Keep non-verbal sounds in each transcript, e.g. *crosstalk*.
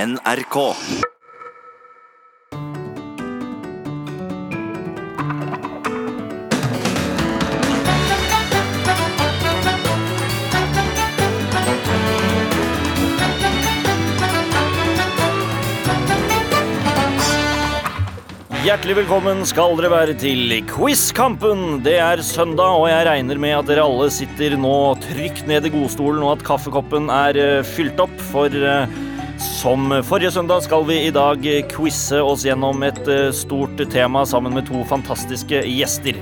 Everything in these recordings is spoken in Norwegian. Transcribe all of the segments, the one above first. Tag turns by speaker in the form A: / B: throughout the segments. A: NRK.
B: Hjertelig velkommen skal dere være til Quizkampen. Det er søndag, og jeg regner med at dere alle sitter nå trygt ned i godstolen, og at kaffekoppen er eh, fylt opp. For eh, som forrige søndag skal vi i dag eh, quize oss gjennom et eh, stort tema sammen med to fantastiske gjester.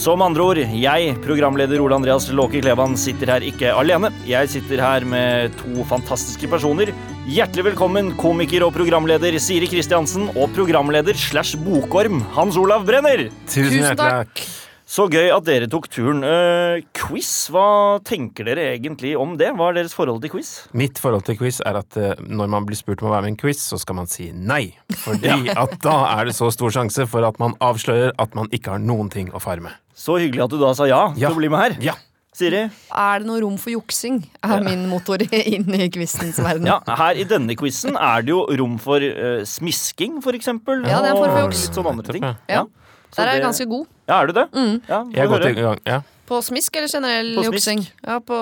B: Så med andre ord, jeg, programleder Ole Andreas Låke Klevan, sitter her ikke alene. Jeg sitter her med to fantastiske personer. Hjertelig velkommen komiker og programleder Siri Kristiansen og programleder slash bokorm Hans Olav Brenner.
C: Tusen,
D: Tusen
C: hjertelig
D: takk.
C: takk.
B: Så gøy at dere tok turen. Eh, quiz, hva tenker dere egentlig om det? Hva er deres forhold til quiz?
C: Mitt forhold til quiz er at eh, når man blir spurt om å være med i en quiz, så skal man si nei. Fordi *laughs* at da er det så stor sjanse for at man avslører at man ikke har noen ting å fare med.
B: Så hyggelig at du da sa ja,
C: Ja.
B: til å bli med her.
C: Ja.
B: Siri?
D: Er det noe rom for juksing? Er min motor inn i kvistens verden.
B: Ja, her i denne quizen er det jo rom for eh, smisking, for eksempel.
D: Ja, det er en form for
B: og
D: juks.
B: Litt sånn andre ting.
C: Nettopp,
D: Ja.
B: Så
D: Der er jeg
B: det-
D: ganske Mm. god.
B: Ja, er du det? Ja, får
C: Jeg
B: vi
C: går
B: høre.
C: til gang. Ja.
D: På smisk eller generell
B: På smisk.
D: juksing? Ja, på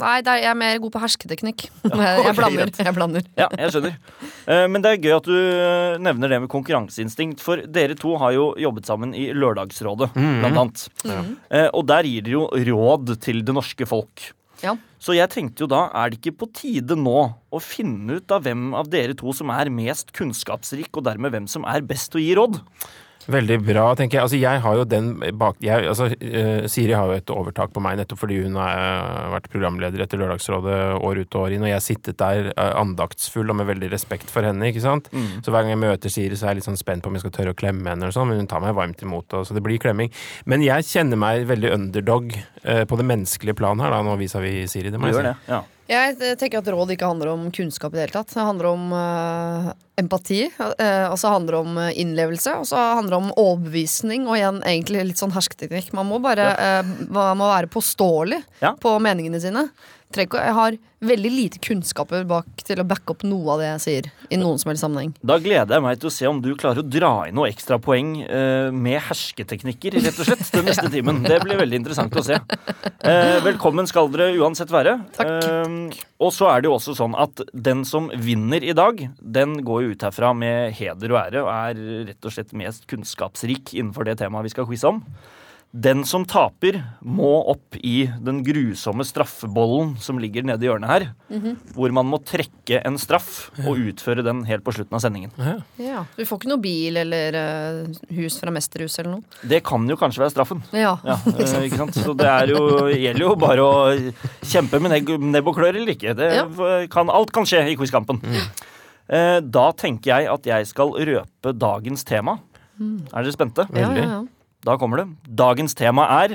D: Nei, der, jeg er mer god på hersketeknikk. jeg,
B: ok,
D: blander.
B: greit.
D: jeg blander.
B: Ja, jeg skjønner. Eh, Men det er gøy at du eh, nevner det med konkurranseinstinkt, for dere to har jo jobbet sammen i Lørdagsrådet,
C: Mm.
B: blant annet.
D: Mm.
B: Eh, Og der gir dere jo råd til det norske folk.
D: Ja.
B: Så jeg tenkte jo da, er det ikke på tide nå å finne ut av hvem av dere to som er mest kunnskapsrik, og dermed hvem som er best til å gi råd?
C: Veldig bra, tenker jeg. Altså, jeg har jo den bak... Jeg, altså, eh, Siri har jo et overtak på meg, nettopp fordi hun har eh, vært programleder etter Lørdagsrådet år ut og år inn, og jeg har sittet der eh, andaktsfull og med veldig respekt for henne, ikke sant?
D: Mm.
C: Så hver gang jeg møter Siri, så er jeg litt sånn spent på om jeg skal tørre å klemme henne, og sånn, men hun tar meg varmt imot, og, så det blir klemming. Men jeg kjenner meg veldig underdog eh, på det menneskelige plan her, da, nå vis-à-vis Siri. Det
B: Du
C: må jeg
B: gjør
C: si.
B: det, ja.
D: Jeg eh, tenker at råd ikke handler om kunnskap i det hele tatt. Det handler om eh, empati, eh, og så handler det om eh, innlevelse, og så handler det om overbevisning, og igjen egentlig litt sånn hersketeknikk. Man må bare eh, man må være påståelig
B: Ja.
D: på meningene sine. Trenger ikke å- Jeg har veldig lite kunnskaper bak til å backe opp noe av det jeg sier, i noen som helst sammenheng.
B: Da gleder jeg meg til å se om du klarer å dra inn noen ekstra poeng eh, med hersketeknikker, rett og slett, den neste timen. Det blir veldig interessant å se. Eh, velkommen skal dere uansett være.
D: Takk.
B: Eh, og så er det jo også sånn at den som vinner i dag, den går jo ut herfra med heder og ære og er rett og slett mest kunnskapsrik innenfor det temaet vi skal quize om. Den som taper, må opp i den grusomme straffebollen som ligger nede i hjørnet her. Hvor man må trekke en straff og utføre den helt på slutten av sendingen.
D: Ja. Du får ikke noe bil eller eh, hus fra mesterhus eller noe.
B: Det kan jo kanskje være straffen.
D: Ja.
B: *laughs* Ja, eh, ikke sant? Så det er jo, gjelder jo bare å kjempe med nebb- nebb og klør eller ikke. Det
D: Ja.
B: eh, kan, alt kan skje i Quizkampen. Eh, Da tenker jeg at jeg skal røpe dagens tema. Er dere spente?
D: Ja, ja, ja.
B: Da kommer det. Dagens tema er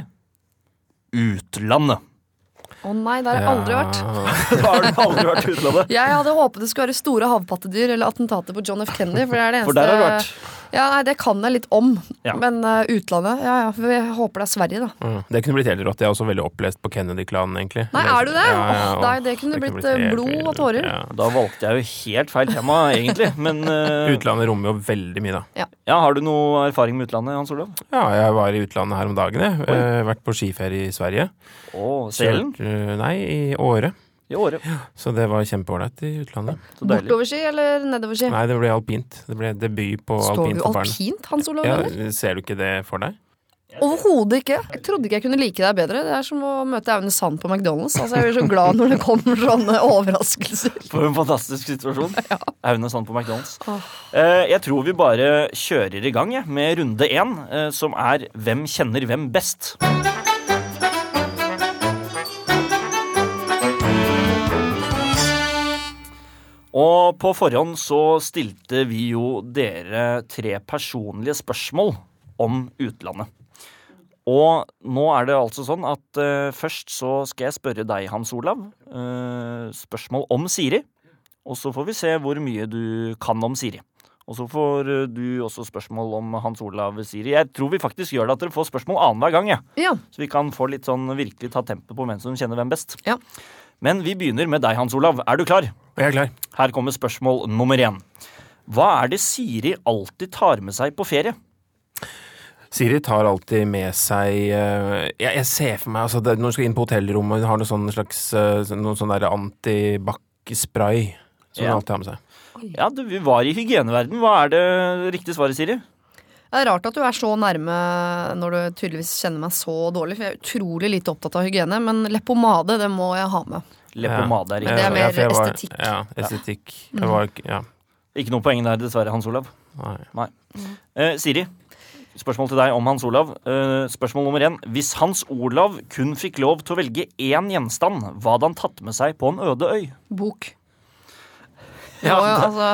B: utlandet. *laughs*
D: Å nei, der har jeg aldri vært.
B: Da har du aldri vært i utlandet.
D: Jeg hadde håpet det skulle være store havpattedyr eller attentater på John F. Kennedy. For det er det eneste
B: For der har du vært.
D: Ja, nei, Det kan jeg litt om.
B: Ja.
D: Men eh, utlandet ja, ja, for Jeg håper det er Sverige, da.
C: Mm. Det kunne blitt helt rått. Jeg er også veldig opplest på Kennedy-klanen, egentlig.
D: Nei, er du det?
C: Ja, ja,
D: Åh,
C: og
D: nei, det kunne blitt, eh,
C: helt
D: blod og
C: vilt.
D: tårer.
C: Ja.
B: Da valgte jeg jo helt feil tema, egentlig. Men eh,
C: Utlandet rommer jo veldig mye, da.
B: ja, har du noe erfaring med utlandet, Hans Olav?
C: Ja, jeg var i utlandet her om dagen, jeg. Eh, vært på skiferie i Sverige.
B: Å, Selen?
C: Kjørt, eh, Nei, i Åre.
B: I året.
C: Så det var kjempeålreit i utlandet.
B: Så deilig.
D: Bortoverski eller nedoverski?
C: Nei, det ble alpint. Det ble debut på
D: Står
C: alpint
D: du
C: for barn.
D: alpint, Hans Olav?
C: Ja,
D: Møller?
C: ser du ikke det for deg?
D: Overhodet ikke. Jeg trodde ikke jeg kunne like deg bedre. Det er som å møte Aune Sand på McDonald's. Altså, Jeg blir så glad når det kommer sånne *laughs* overraskelser.
B: For en fantastisk situasjon. Aune Sand på McDonald's.
D: Åh.
B: Eh, jeg tror vi bare kjører i gang jeg, med runde én, eh, som er Hvem kjenner hvem best? Og på forhånd så stilte vi jo dere tre personlige spørsmål om utlandet. Og nå er det altså sånn at eh, først så skal jeg spørre deg, Hans Olav, eh, spørsmål om Siri. Og så får vi se hvor mye du kan om Siri. Og så får eh, du også spørsmål om Hans Olav Siri. Jeg tror vi faktisk gjør det at dere får spørsmål annenhver gang, jeg.
D: Ja.
B: Så vi kan få litt sånn virkelig ta tempe på hvem som kjenner hvem best.
D: Ja.
B: Men vi begynner med deg, Hans Olav. Er du klar?
C: Jeg er klar.
B: Her kommer spørsmål nummer én. Hva er det Siri alltid tar med seg på ferie?
C: Siri tar alltid med seg eh, jeg, jeg ser for meg altså, det, Når hun skal inn på hotellrommet, hun har noe sånn slags eh, sånn- noe sånn der antibac-spray som hun
B: Ja.
C: alltid har med seg.
B: Ja, du, Vi var i hygieneverden. Hva er det riktige svaret, Siri?
D: Det er rart at du er så nærme når du tydeligvis kjenner meg så dårlig, for jeg er utrolig lite opptatt av hygiene, men leppepomade, det må jeg ha med.
B: Leppepomade er
C: Ja.
B: riktig.
D: Det er
C: Ja,
D: mer
C: for jeg var-
D: estetikk. Mm.
C: Ja, estetikk. Jeg var ikke- ja.
B: Ikke noe poeng der, dessverre, Hans Olav.
C: Nei.
B: Eh, Siri, spørsmål til deg om Hans Olav. Eh, spørsmål nummer én. Hvis Hans Olav kun fikk lov til å velge én gjenstand, hva hadde han tatt med seg på en øde øy?
D: Bok.
B: Ja,
D: Ja, altså,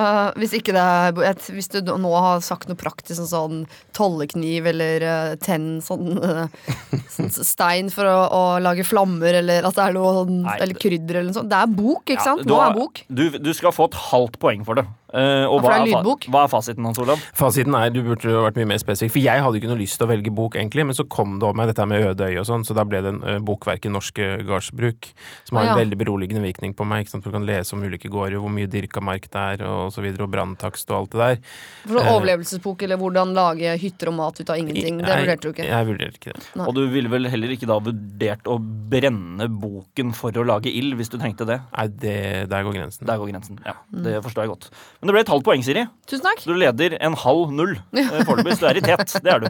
D: hvis, ikke det er, bo- et- hvis du nå har sagt noe praktisk, sånn, sånn tollekniv eller eh, tenn, sånn, eh, sånn stein for å, å lage flammer, eller at det er noe sånn,
B: Nei,
D: eller krydder eller noe sånt. Det er bok, ikke sant?
B: du
D: Nå
B: har-
D: er bok.
B: Du, du skal få et halvt poeng for det. Eh, og
D: Ja, for
B: hva,
D: det er
B: er fa
D: lydbok.
B: hva er fasiten, Hans Olav?
C: Fasiten er, du burde jo vært mye mer spesifikk, for jeg hadde ikke noe lyst til å velge bok, egentlig, men så kom det om meg dette med øde øye og sånn, så da ble det en eh, bokverket Norske gardsbruk, som har en
D: Å, ja.
C: veldig beroligende virkning på meg, ikke sant, for du kan lese om ulike gårder, hvor mye dyrka mark det er, og så videre, og branntakst og alt det der.
D: For sånn
C: eh,
D: overlevelsesbok, eller hvordan lage hytter og mat ut av ingenting. Mm, Det
C: Jeg-
D: vurderte du ikke.
C: Jeg vurderte ikke det.
D: Nei.
B: Og du ville vel heller ikke da vurdert å brenne boken for å lage ild, hvis du trengte det?
C: Nei, det, der går grensen.
B: Der går grensen. Ja, Det forstår jeg godt. Men det ble et halvt poeng, Siri.
D: Tusen takk.
B: Du leder en halv null eh, foreløpig, så du er i tet. Det er du.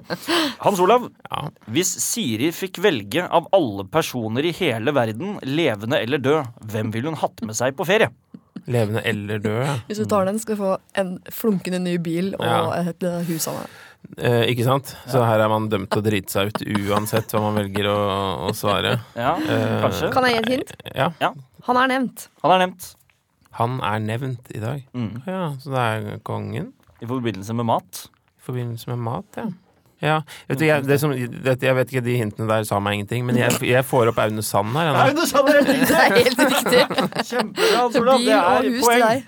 B: Hans Olav,
C: Ja.
B: hvis Siri fikk velge av alle personer i hele verden, levende eller død, hvem ville hun hatt med seg på ferie?
C: Levende eller død. ja.
D: Hvis du tar den, skal du få en flunkende ny bil og
C: Ja.
D: et eh, hus av meg.
C: Eh, ikke sant? Så her er man dømt til å drite seg ut uansett hva man velger å, å svare.
B: Ja, kanskje.
D: Kan jeg gi et hint?
C: Ja,
D: Han er nevnt.
B: Han er nevnt
C: han er nevnt i dag.
B: mm.
C: Ja, så det er kongen
B: i forbindelse med mat.
C: i forbindelse med mat, ja. Ja, vet du,
B: Mm.
C: jeg, det som, det, jeg vet ikke, De hintene der sa meg ingenting, men jeg, jeg får opp Aune Sand her. jeg, nå.
B: du sa det
D: Det er
B: *laughs*
D: helt riktig.
B: Kjempebra, Hans Olav.
D: Bil
B: Det
D: og
B: er
D: hus til
B: poeng.
D: deg.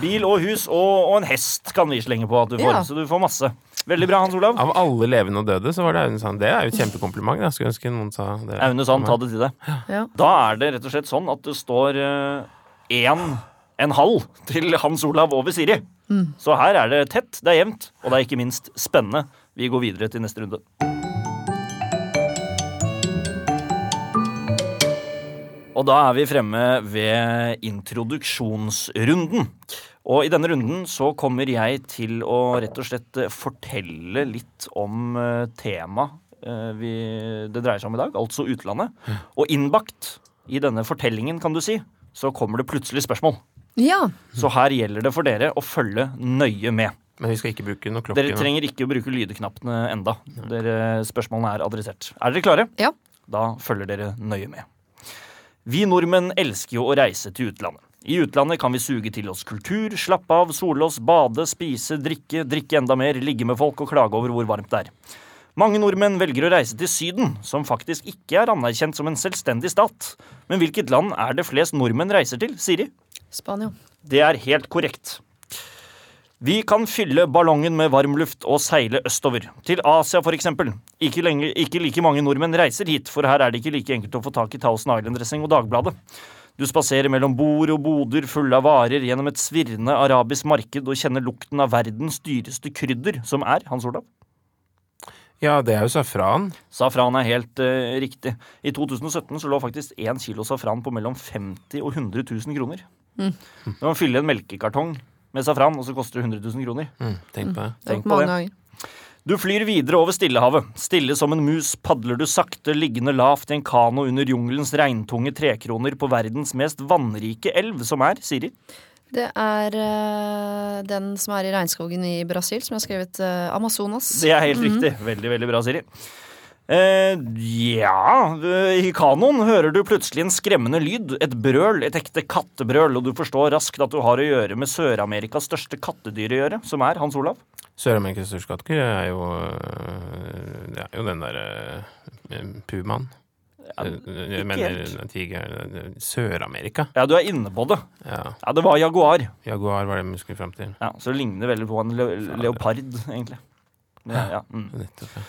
B: Bil og hus og, og en hest kan vi slenge på at du får.
D: Ja.
B: Så du får masse. Veldig bra, Hans Olav.
C: Av alle levende og døde, så var det Aune Sand. Det er jo et kjempekompliment. Jeg skulle ønske noen sa det.
B: Aune Sand, ta det til deg.
D: Ja.
B: Da er det rett og slett sånn at det står én en halv til Hans Olav over Siri. Så her er det tett, det er jevnt, og det er ikke minst spennende. Vi går videre til neste runde. Og da er vi fremme ved introduksjonsrunden. Og i denne runden så kommer jeg til å rett og slett eh, fortelle litt om eh, temaet eh, vi, det dreier seg om i dag, altså utlandet. Og innbakt i denne fortellingen, kan du si, så kommer det plutselig spørsmål.
D: ja.
B: Så her gjelder det for dere å følge nøye med.
C: Men vi skal ikke bruke noe klokke.
B: Dere
C: nå.
B: trenger ikke å bruke lydknappene enda. Dere, spørsmålene er adressert. Er dere klare?
D: Ja.
B: Da følger dere nøye med. Vi nordmenn elsker jo å reise til utlandet. I utlandet kan vi suge til oss kultur, slappe av, sole oss, bade, spise, drikke, drikke enda mer, ligge med folk og klage over hvor varmt det er. Mange nordmenn velger å reise til Syden, som faktisk ikke er anerkjent som en selvstendig stat. Men hvilket land er det flest nordmenn reiser til, Siri?
D: Spania.
B: Det er helt korrekt. Vi kan fylle ballongen med varmluft og seile østover. Til Asia, for eksempel. Ikke, lenge, ikke like mange nordmenn reiser hit, for her er det ikke like enkelt å få tak i Thousand Island-dressing og Dagbladet. Du spaserer mellom bord og boder fulle av varer gjennom et svirrende arabisk marked og kjenner lukten av verdens dyreste krydder, som er Hans Olav.
C: Ja, det er jo safran.
B: Safran er helt eh, riktig. I 2017 så lå faktisk én kilo safran på mellom 50 og 100 000 kroner. Du må fylle en melkekartong med safran, og så koster det 100 000 kroner.
C: Mm, tenk på det.
D: Det er
B: Tenk
D: ikke
B: på
D: mange
B: det.
D: ganger.
B: Du flyr videre over Stillehavet. Stille som en mus padler du sakte, liggende lavt i en kano under jungelens regntunge trekroner på verdens mest vannrike elv, som er Siri.
D: Det er eh, den som er i regnskogen i Brasil, som har skrevet eh, Amazonas.
B: Det er helt riktig. Veldig, veldig bra, Siri. Eh, ja eh, I kanoen hører du plutselig en skremmende lyd. Et brøl, et ekte kattebrøl, og du forstår raskt at du har å gjøre med Sør-Amerikas største kattedyr å gjøre, som er Hans Olav.
C: Sør-Amerikas største kattedyr er jo øh, Det er jo den derre øh, pumaen. Jeg mener
B: helt.
C: en tiger øh, Sør-Amerika.
B: Ja, du er inne på det.
C: Ja.
B: Ja, det var jaguar.
C: Jaguar var det vi skulle fram til.
B: Ja, Så det ligner veldig på en le leopard, egentlig. Ja, ja, mm.
C: Nettopp. ja.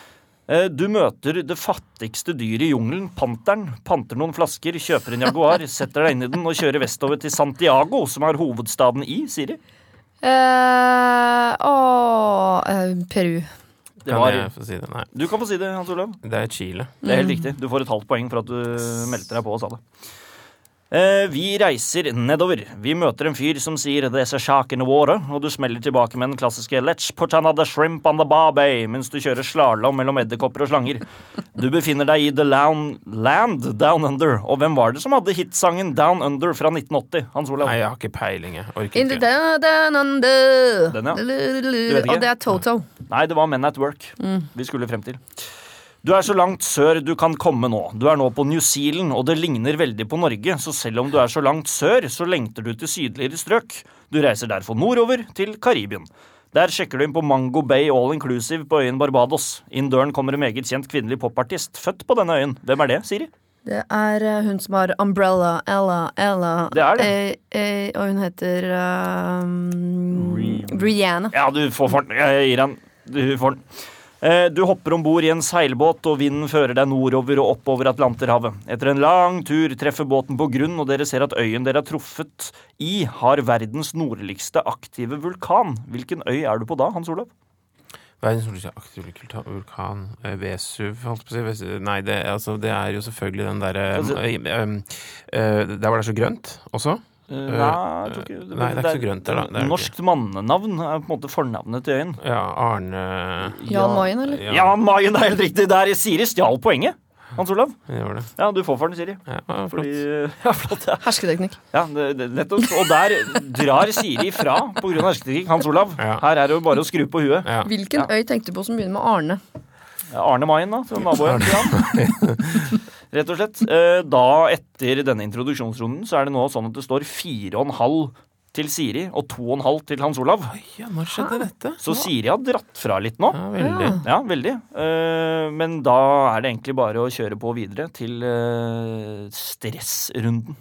B: Eh, Du møter det fattigste dyret i jungelen, panteren. Panter noen flasker, kjøper en Jaguar, setter deg inn i den og kjører vestover til Santiago, som er hovedstaden i Siri.
D: Eh, å, eh, Peru.
B: Det
C: Kan
B: var,
C: jeg få si det? Nei.
B: du kan få si det, Hans Olav.
C: Det er Chile.
B: Det er helt riktig. Du får et halvt poeng for at du meldte deg på og sa det. Eh, Vi reiser nedover. Vi møter en fyr som sier 'there's a shark in the water', og du smeller tilbake med den klassiske 'let's put another shrimp on the barbay' mens du kjører slalåm mellom edderkopper og slanger. Du befinner deg i The Lown Land Down Under, og hvem var det som hadde hitsangen Down Under fra 1980? Hans Olav?
C: Nei, jeg har ikke peiling, jeg. Orker
D: In the
C: ikke.
D: da- da- nan- da.
B: Den, ja.
D: Du vet
B: ikke?
D: Og det er Toto.
B: Nei, det var Men at Work vi skulle frem til. Du er så langt sør du kan komme nå. Du er nå på New Zealand, og det ligner veldig på Norge, så selv om du er så langt sør, så lengter du til sydligere strøk. Du reiser derfor nordover, til Karibien. Der sjekker du inn på Mango Bay All Inclusive på øyen Barbados. Inn døren kommer en meget kjent kvinnelig popartist, født på denne øyen. Hvem er det, Siri?
D: Det er eh, hun som har Umbrella, Ella, Ella
B: Det er
D: Eh, eh, og hun heter eh, Brianna.
B: Ja, du får fart. Jeg gir han. Du får den. Eh, Du hopper om bord i en seilbåt, og vinden fører deg nordover og oppover Atlanterhavet. Etter en lang tur treffer båten på grunn, og dere ser at øyen dere har truffet i, har verdens nordligste aktive vulkan. Hvilken øy er du på da, Hans Olav?
C: Verdens nordligste aktive kulta- vulkan eh, Vesuv, holdt på å si. Vesuv. Nei, det, altså, det er jo selvfølgelig den derre eh,
B: Altså-
C: Der var det så grønt også.
B: Eh, nei, jeg tror ikke-
C: Eh, nei, det er ikke så grønt der, da. Det er det
B: Norskt mannenavn er på en måte fornavnet til øyen.
C: Ja, Arne
D: Jan Mayen, eller?
B: Ja, Mayen er helt riktig! Der Siri stjal poenget. Hans Olav?
C: Det var det.
B: Ja, du får for den, Siri.
C: Ja, flott.
B: Fordi, *laughs* ja, flott. Ja.
D: Hersketeknikk.
B: Ja, det- det- nettopp. Og der drar Siri fra pga. hersketeknikk. Hans Olav,
C: Ja.
B: her er det jo bare å skru på huet.
C: Ja.
D: Hvilken øy tenkte du på som begynner med Arne?
B: Arne Mayen, da, som naboen til han.
C: *laughs*
B: Rett og slett. Eh, Da, etter denne introduksjonsrunden, så er det nå sånn at det står fire og en halv til Siri og to og en halv til Hans Olav.
C: ja, når skjedde dette?
B: Så Siri har dratt fra litt nå.
C: Ja, veldig.
B: Ja, veldig. Eh, Men da er det egentlig bare å kjøre på videre til eh, stressrunden.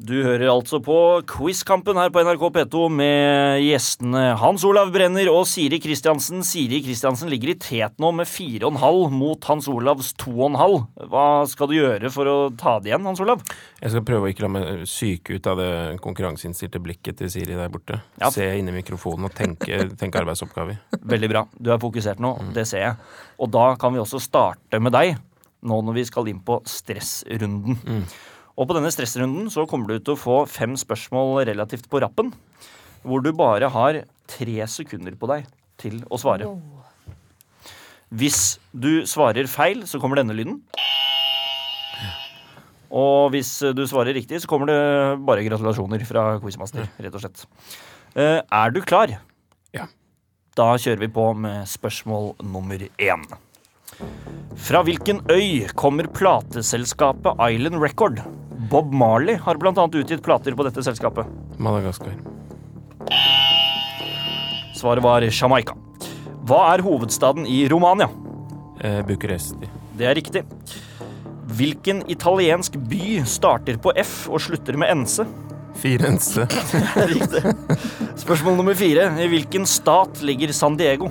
B: Du hører altså på Quizkampen her på NRK P2 med gjestene Hans Olav Brenner og Siri Kristiansen. Siri Kristiansen ligger i tet nå med 4,5 mot Hans Olavs 2,5. Hva skal du gjøre for å ta det igjen, Hans Olav?
C: Jeg skal prøve å ikke la meg syke ut av det konkurranseinnstilte blikket til Siri der borte.
B: Ja.
C: Se inn i mikrofonen og tenke, tenke arbeidsoppgaver.
B: Veldig bra. Du er fokusert nå, det ser jeg. Og da kan vi også starte med deg, nå når vi skal inn på stressrunden. Og på denne stressrunden så kommer du til å få fem spørsmål relativt på rappen, hvor du bare har tre sekunder på deg til å svare. Hvis du svarer feil, så kommer denne lyden. Og hvis du svarer riktig, så kommer det bare gratulasjoner fra Quizmaster, rett og slett. Eh, Er du klar?
C: Ja.
B: Da kjører vi på med spørsmål nummer én. Fra hvilken øy kommer plateselskapet Island Record? Bob Marley har bl.a. utgitt plater på dette selskapet.
C: Madagaskar.
B: Svaret var Jamaica. Hva er hovedstaden i Romania?
C: Eh, Bucuresti.
B: Det er riktig. Hvilken italiensk by starter på F og slutter med NC?
C: Firenze.
B: Det er riktig. Spørsmål nummer fire. I hvilken stat ligger San Diego?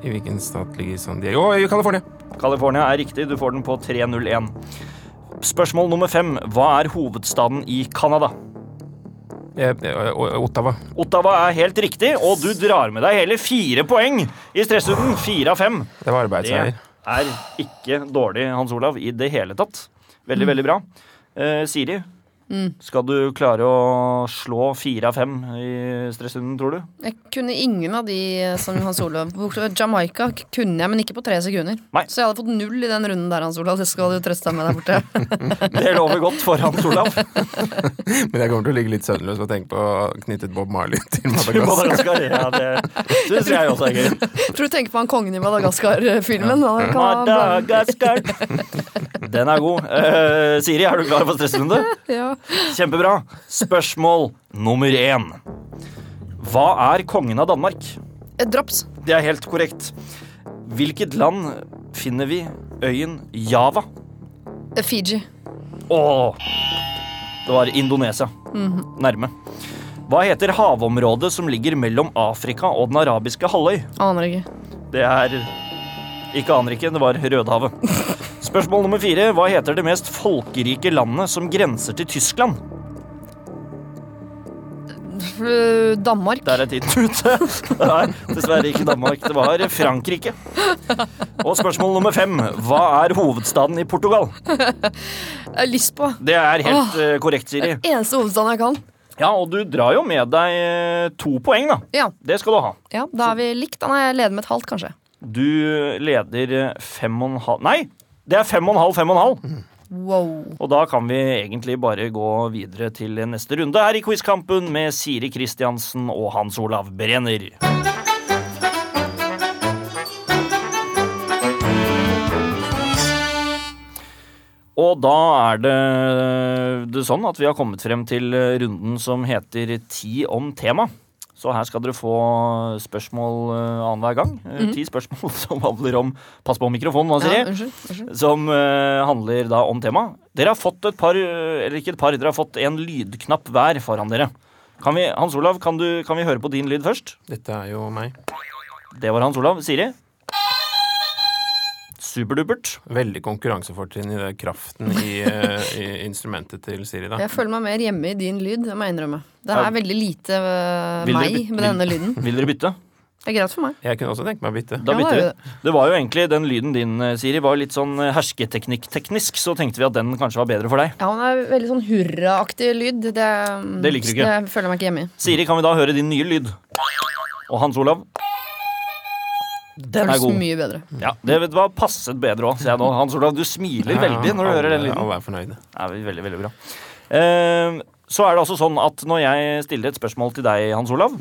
C: I hvilken stat ligger San Diego? Å, i California!
B: California er riktig. Du får den på 301. Spørsmål nummer fem. Hva er hovedstaden i Canada?
C: Eh, eh, Ottawa.
B: Ottawa er helt riktig, og du drar med deg hele fire poeng i stressrunden. Fire av fem.
C: Det
B: Det
C: var arbeidsseier.
B: er ikke dårlig, Hans Olav, i det hele tatt. Veldig, veldig bra. Eh, Siri, skal du klare å slå fire av fem i stressrunden, tror du?
D: Jeg kunne ingen av de eh, som Hans Olav bortsett fra Jamaica kunne jeg, men ikke på tre sekunder.
B: Nei.
D: Så jeg hadde fått null i den runden der, Hans Olav. Det skal du trøste deg med der borte. *laughs*
B: Det lover godt for Hans Olav.
C: Men jeg kommer til å ligge litt søvnløs ved å tenke på knyttet Bob Marley *laughs* til Madagaskar.
B: Madagaskar, ja, det syns jeg også er gøy.
D: Tror du tenker på han kongen i Madagaskar-filmen? Ja.
B: Mm.
D: Han kan ha blandet-
B: *laughs* Madagaskar. Den er god. Eh, Siri, er du klar for stressrunde?
D: Ja.
B: Kjempebra. Spørsmål nummer én. Hva er kongen av Danmark?
D: Et Eh, drops.
B: Det er helt korrekt. Hvilket land finner vi øyen Java?
D: Eh, Fiji.
B: Åh! Det var Indonesia. Nærme. Hva heter havområdet som ligger mellom Afrika og den arabiske halvøy?
D: Aner ikke.
B: Det er Ikke aner ikke, det var Rødehavet. Spørsmål nummer fire. Hva heter det mest folkerike landet som grenser til Tyskland?
D: Eh, Danmark.
B: Der er tiden ute. *laughs* Nei, dessverre ikke Danmark. Det var Frankrike. Og spørsmål nummer fem. Hva er hovedstaden i Portugal?
D: Eh, Lisboa.
B: Det er helt eh, korrekt, Siri.
D: Eneste hovedstaden jeg kan.
B: Ja, og du drar jo med deg eh, to poeng, da.
D: Ja,
B: Det skal du ha.
D: ja da er vi likt. Da. Nei, jeg leder med et halvt, kanskje.
B: Du leder eh, fem og en halv Nei, det er fem og en halv, fem og en halv.
D: Wow.
B: Og da kan vi egentlig bare gå videre til neste runde her i Quizkampen med Siri Kristiansen og Hans Olav Brenner. Og da er det, det sånn at vi har kommet frem til runden som heter Ti om tema. Så her skal dere få spørsmål eh, annenhver gang. Eh, Ti spørsmål *laughs* som handler om Pass på mikrofonen nå, Siri
D: Ja, unnskyld. unnskyld.
B: som eh, handler da om temaet. Dere har fått et par, eh, eller ikke et par, dere har fått en lydknapp hver foran dere. Kan vi, Hans Olav, kan, du, kan vi høre på din lyd først?
C: Dette er jo meg.
B: Det var Hans Olav. Siri? Superdupert.
C: Veldig konkurransefortrinn i det kraften i, eh, i instrumentet til Siri, da.
D: Jeg føler meg mer hjemme i din lyd, det må jeg innrømme. Det
B: Ja.
D: er veldig lite eh,
B: Vil dere
D: meg
B: bytte-
D: med denne lyden.
B: Vil dere bytte?
D: Det er greit for meg.
C: Jeg kunne også tenke meg å bytte.
B: Da
D: Ja,
B: bytter
D: da
B: vi.
D: gjør
B: Det var jo egentlig den lyden din, eh, Siri, var jo litt sånn eh, hersketeknikk-teknisk, så tenkte vi at den kanskje var bedre for deg.
D: Ja, men det er veldig sånn hurraaktig lyd. Det,
B: Det liker du ikke.
D: Det føler jeg meg ikke hjemme i.
B: Siri, kan vi da høre din nye lyd? Og Hans Olav?
D: Det
B: Den er
D: høres
B: god.
D: mye bedre.
B: Ja, Det vet du hva, passet bedre òg, ser jeg nå. Hans Olav, du smiler veldig når du hører den lyden.
C: Alle er fornøyde.
B: Det er veldig, veldig bra. Eh, Så er det altså sånn at når jeg stiller et spørsmål til deg, Hans Olav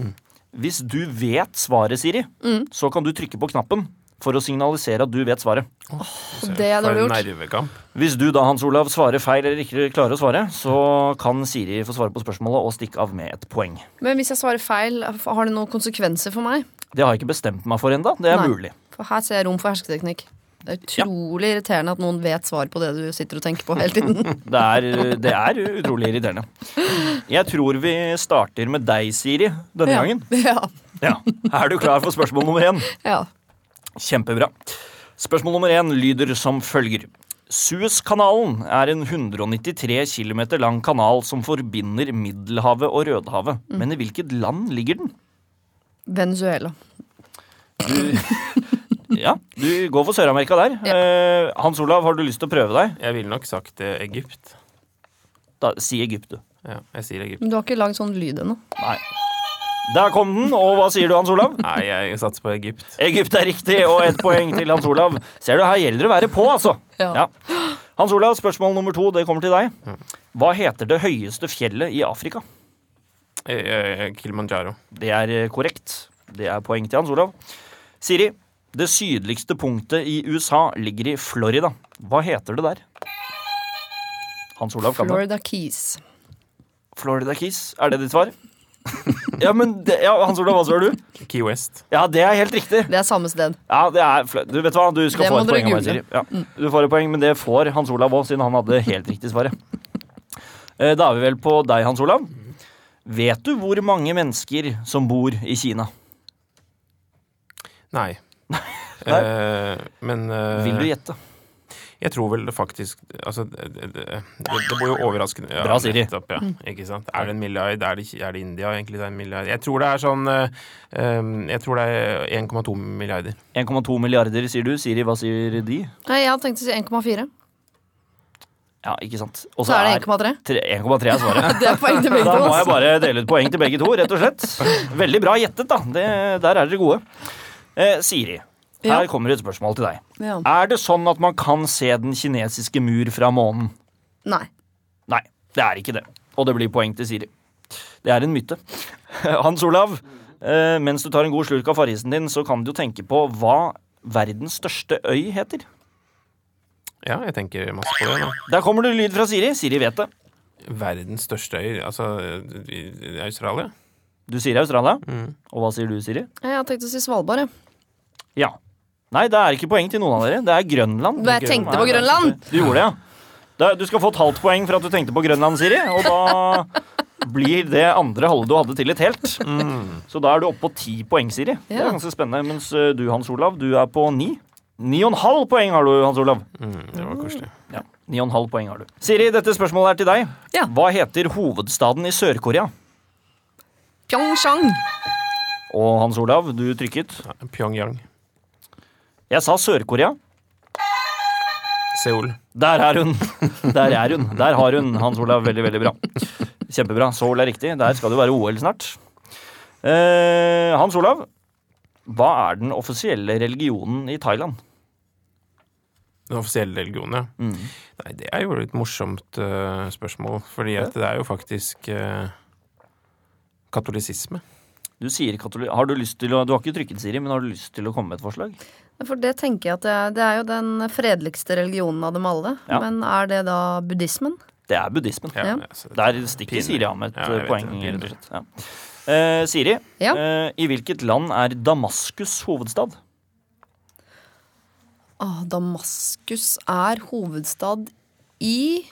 B: Hvis du vet svaret, Siri,
D: Mm.
B: så kan du trykke på knappen for å signalisere at du vet svaret.
D: Og det er dårlig
C: For en
D: gjort.
C: nervekamp.
B: Hvis du da, Hans Olav, svarer feil eller ikke klarer å svare, så kan Siri få svare på spørsmålet og stikke av med et poeng.
D: Men hvis jeg svarer feil, har det noen konsekvenser for meg?
B: Det har jeg ikke bestemt meg for ennå. Det er
D: Nei.
B: mulig.
D: For her ser jeg rom for hersketeknikk. Det er utrolig irriterende at noen vet svar på det du sitter og tenker på hele
B: *laughs*
D: tiden.
B: Det er, det er utrolig irriterende. Jeg tror vi starter med deg, Siri, denne
D: ja.
B: gangen.
D: *laughs* Ja.
B: Ja. Er du klar for spørsmål nummer én?
D: ja.
B: Kjempebra. Spørsmål nummer én lyder som følger. Suezkanalen er en 193 km lang kanal som forbinder Middelhavet og Rødehavet. Men i hvilket land ligger den?
D: Venezuela.
B: Ja, du går for Sør-Amerika der. Eh, Hans Olav, har du lyst til å prøve deg?
C: Jeg ville nok sagt eh, Egypt.
B: Da, si Egypt, du.
C: Ja, jeg sier Egypt.
D: Men du har ikke lagd sånn lyd ennå.
B: Nei. Der kom den, og hva sier du, Hans Olav?
C: Nei, jeg satser på Egypt.
B: Egypt er riktig, og ett poeng til Hans Olav. Ser du, her gjelder det å være på, altså.
D: Ja.
B: Hans Olav, spørsmål nummer to, det kommer til deg. Hva heter det høyeste fjellet i Afrika?
C: Eh, eh, Kilimanjaro.
B: Det er eh, korrekt. Det er poeng til Hans Olav. Siri, det sydligste punktet i USA ligger i Florida. Hva heter det der? Hans Olav kan det.
D: Florida Keys.
B: Florida Keys, er det ditt svar? *laughs* ja, men det, ja, Hans Olav, hva svarer du?
C: Key West.
B: Ja, det er helt riktig.
D: Det er samme sted.
B: Ja, det er fl- Du vet hva, du skal
D: Det
B: få
D: må
B: et
D: dere
B: poeng av meg, Siri.
D: google. Mm.
B: Ja. Du får et poeng, men det får Hans Olav òg, siden han hadde helt riktig svaret. *laughs* Eh, Da er vi vel på deg, Hans Olav. Vet du hvor mange mennesker som bor i Kina?
C: Nei.
B: Nei.
C: Eh, men eh,
B: Vil du gjette?
C: Jeg tror vel det faktisk Altså, det, det, det, det blir jo overraskende ja,
B: Bra, Siri.
C: Nettopp, ja. Ikke sant? Er det en milliard? Er det, ikke- er det India, egentlig? Det er en milliard. Jeg tror det er sånn eh, eh, Jeg tror det er 1,2 milliarder.
B: 1,2 milliarder, sier du. Siri, hva sier de?
D: Nei, jeg hadde tenkt å si 1,4.
B: Ja, ikke sant. Og
D: Så er det 1,3.
B: tre- 1,3 er
D: *laughs*
B: svaret.
D: Det er poeng til begge
B: *laughs* Da
D: to.
B: må jeg
D: ass.
B: bare dele ut poeng til begge to, rett og slett. Veldig bra gjettet, da. Det, der er dere gode. Eh, Siri,
D: Ja.
B: her kommer et spørsmål til deg.
D: Ja.
B: Er det sånn at man kan se den kinesiske mur fra månen?
D: Nei.
B: Nei, det er ikke det. Og det blir poeng til Siri. Det er en myte. *laughs* Hans Olav, eh, mens du tar en god slurk av farrisen din, så kan du jo tenke på hva verdens største øy heter.
C: Ja, jeg tenker masse på det nå.
B: Der kommer det lyd fra Siri. Siri vet det.
C: verdens største øy, altså i- i Australia.
B: Du sier Australia, og hva sier du, Siri?
D: Jeg har tenkt å si Svalbard, jeg.
B: Ja. Nei, det er ikke poeng til noen av dere. Det er Grønland.
D: Men jeg tenkte på Grønland!
B: Du gjorde det, ja. Da- Du skal få et halvt poeng for at du tenkte på Grønland, Siri. Og da blir det andre halve du hadde til et helt. Så da er du oppe på ti poeng, Siri. Det er
D: Ja.
B: ganske spennende. Mens eh, du, Hans Olav, du er på ni. Ni og en halv poeng har du, Hans Olav.
C: Mm, det var koselig.
B: Ja, ni og en halv poeng har du. Siri, dette spørsmålet er til deg.
D: Ja.
B: Hva heter hovedstaden i Sør-Korea?
D: Pyeongchang.
B: Og Hans Olav, du trykket.
C: Ja, Pyongyang.
B: Jeg sa Sør-Korea.
C: Seoul.
B: Der er hun! Der er hun. Der har hun Hans Olav. Veldig, veldig bra. Kjempebra. Seoul er riktig. Der skal det jo være OL snart. Eh, Hans Olav, hva er den offisielle religionen i Thailand?
C: Den offisielle religionen, ja.
B: Mm.
C: Nei, det er jo litt morsomt eh, spørsmål, fordi at det er jo faktisk eh, katolisisme.
B: Du sier katoli- har du, lyst til å, du har ikke trykket, Siri, men har du lyst til å komme med et forslag?
D: For det tenker jeg at det er, det er jo den fredeligste religionen av dem alle.
B: Ja.
D: Men er det da buddhismen?
B: Det er buddhismen.
D: Ja.
C: så-
B: Der stikker
C: Pinlig.
B: Siri av med et
C: Ja, jeg
B: eh,
C: vet
B: poeng.
C: det. Pinlig.
B: rett og slett. Ja. Eh, Siri,
D: Ja.
B: eh, i hvilket land er Damaskus hovedstad?
D: Ah, Damaskus er hovedstad i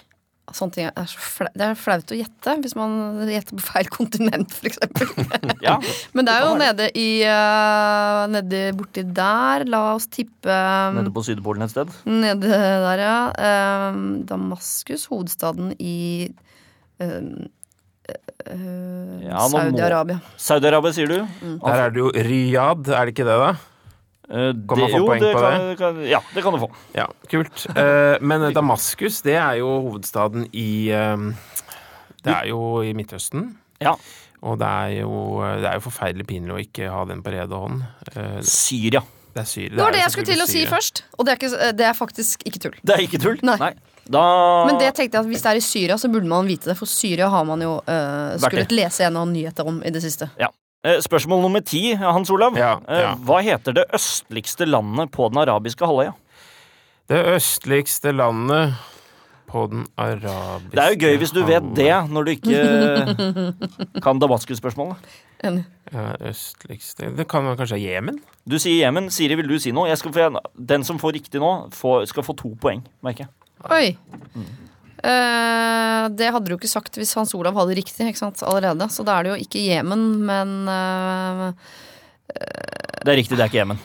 D: Sånne ting er så fla- Det er flaut å gjette hvis man gjetter på feil *laughs* kontinent, f.eks.
B: *laughs* Ja,
D: Men det er jo nede i eh, Nede borti der. La oss tippe um,
B: Nede på Sydpolen et sted.
D: Nede der, ja. Eh, Damaskus, hovedstaden i eh, eh,
B: Ja, nå må-
D: Saudi-Arabia.
B: Saudi-Arabia, sier du?
D: Mm.
C: Der er det jo Riyadh, er det ikke det, da?
B: Eh,
C: Kan man få poeng
B: det
C: på
B: kan, Kan, ja, det kan du få.
C: Ja,
B: *laughs*
C: kult. Eh, men Damaskus, det er jo hovedstaden i eh, Det er jo i Midtøsten.
B: Ja.
C: Og det er jo, det er jo forferdelig pinlig å ikke ha den på rede hånd. Eh,
B: Syria.
C: Det er Syria.
D: Det var det
C: er
D: jeg skulle til å
C: selvfølgelig
D: si
C: Syria.
D: først. Og det er, ikke, det er faktisk ikke tull.
B: Det er ikke tull?
D: Nei.
B: Da
D: Men det tenkte jeg at hvis det er i Syria, så burde man vite det. For Syria har man jo
B: Vært
D: eh,
B: i.
D: skullet lese en og annen nyhet om i det siste.
B: Eh, Spørsmål nummer ti, Hans Olav.
C: Ja,
B: Eh,
C: ja.
B: Hva heter det østligste landet på den arabiske halvøya?
C: Det østligste landet på den arabiske
B: Det er jo gøy hvis du vet det når du ikke eh, kan Damaskus-spørsmålet.
D: Enig.
C: Ja, østligste Det kan være kanskje Jemen?
B: Du sier Jemen. Siri, vil du si noe? Jeg skal få, den som får riktig nå, får, skal få to poeng, merker jeg.
D: Oi. Eh, det hadde du ikke sagt hvis Hans Olav hadde riktig ikke sant, allerede. Så da er det jo ikke Jemen, men eh,
B: Det er riktig, det er ikke Jemen.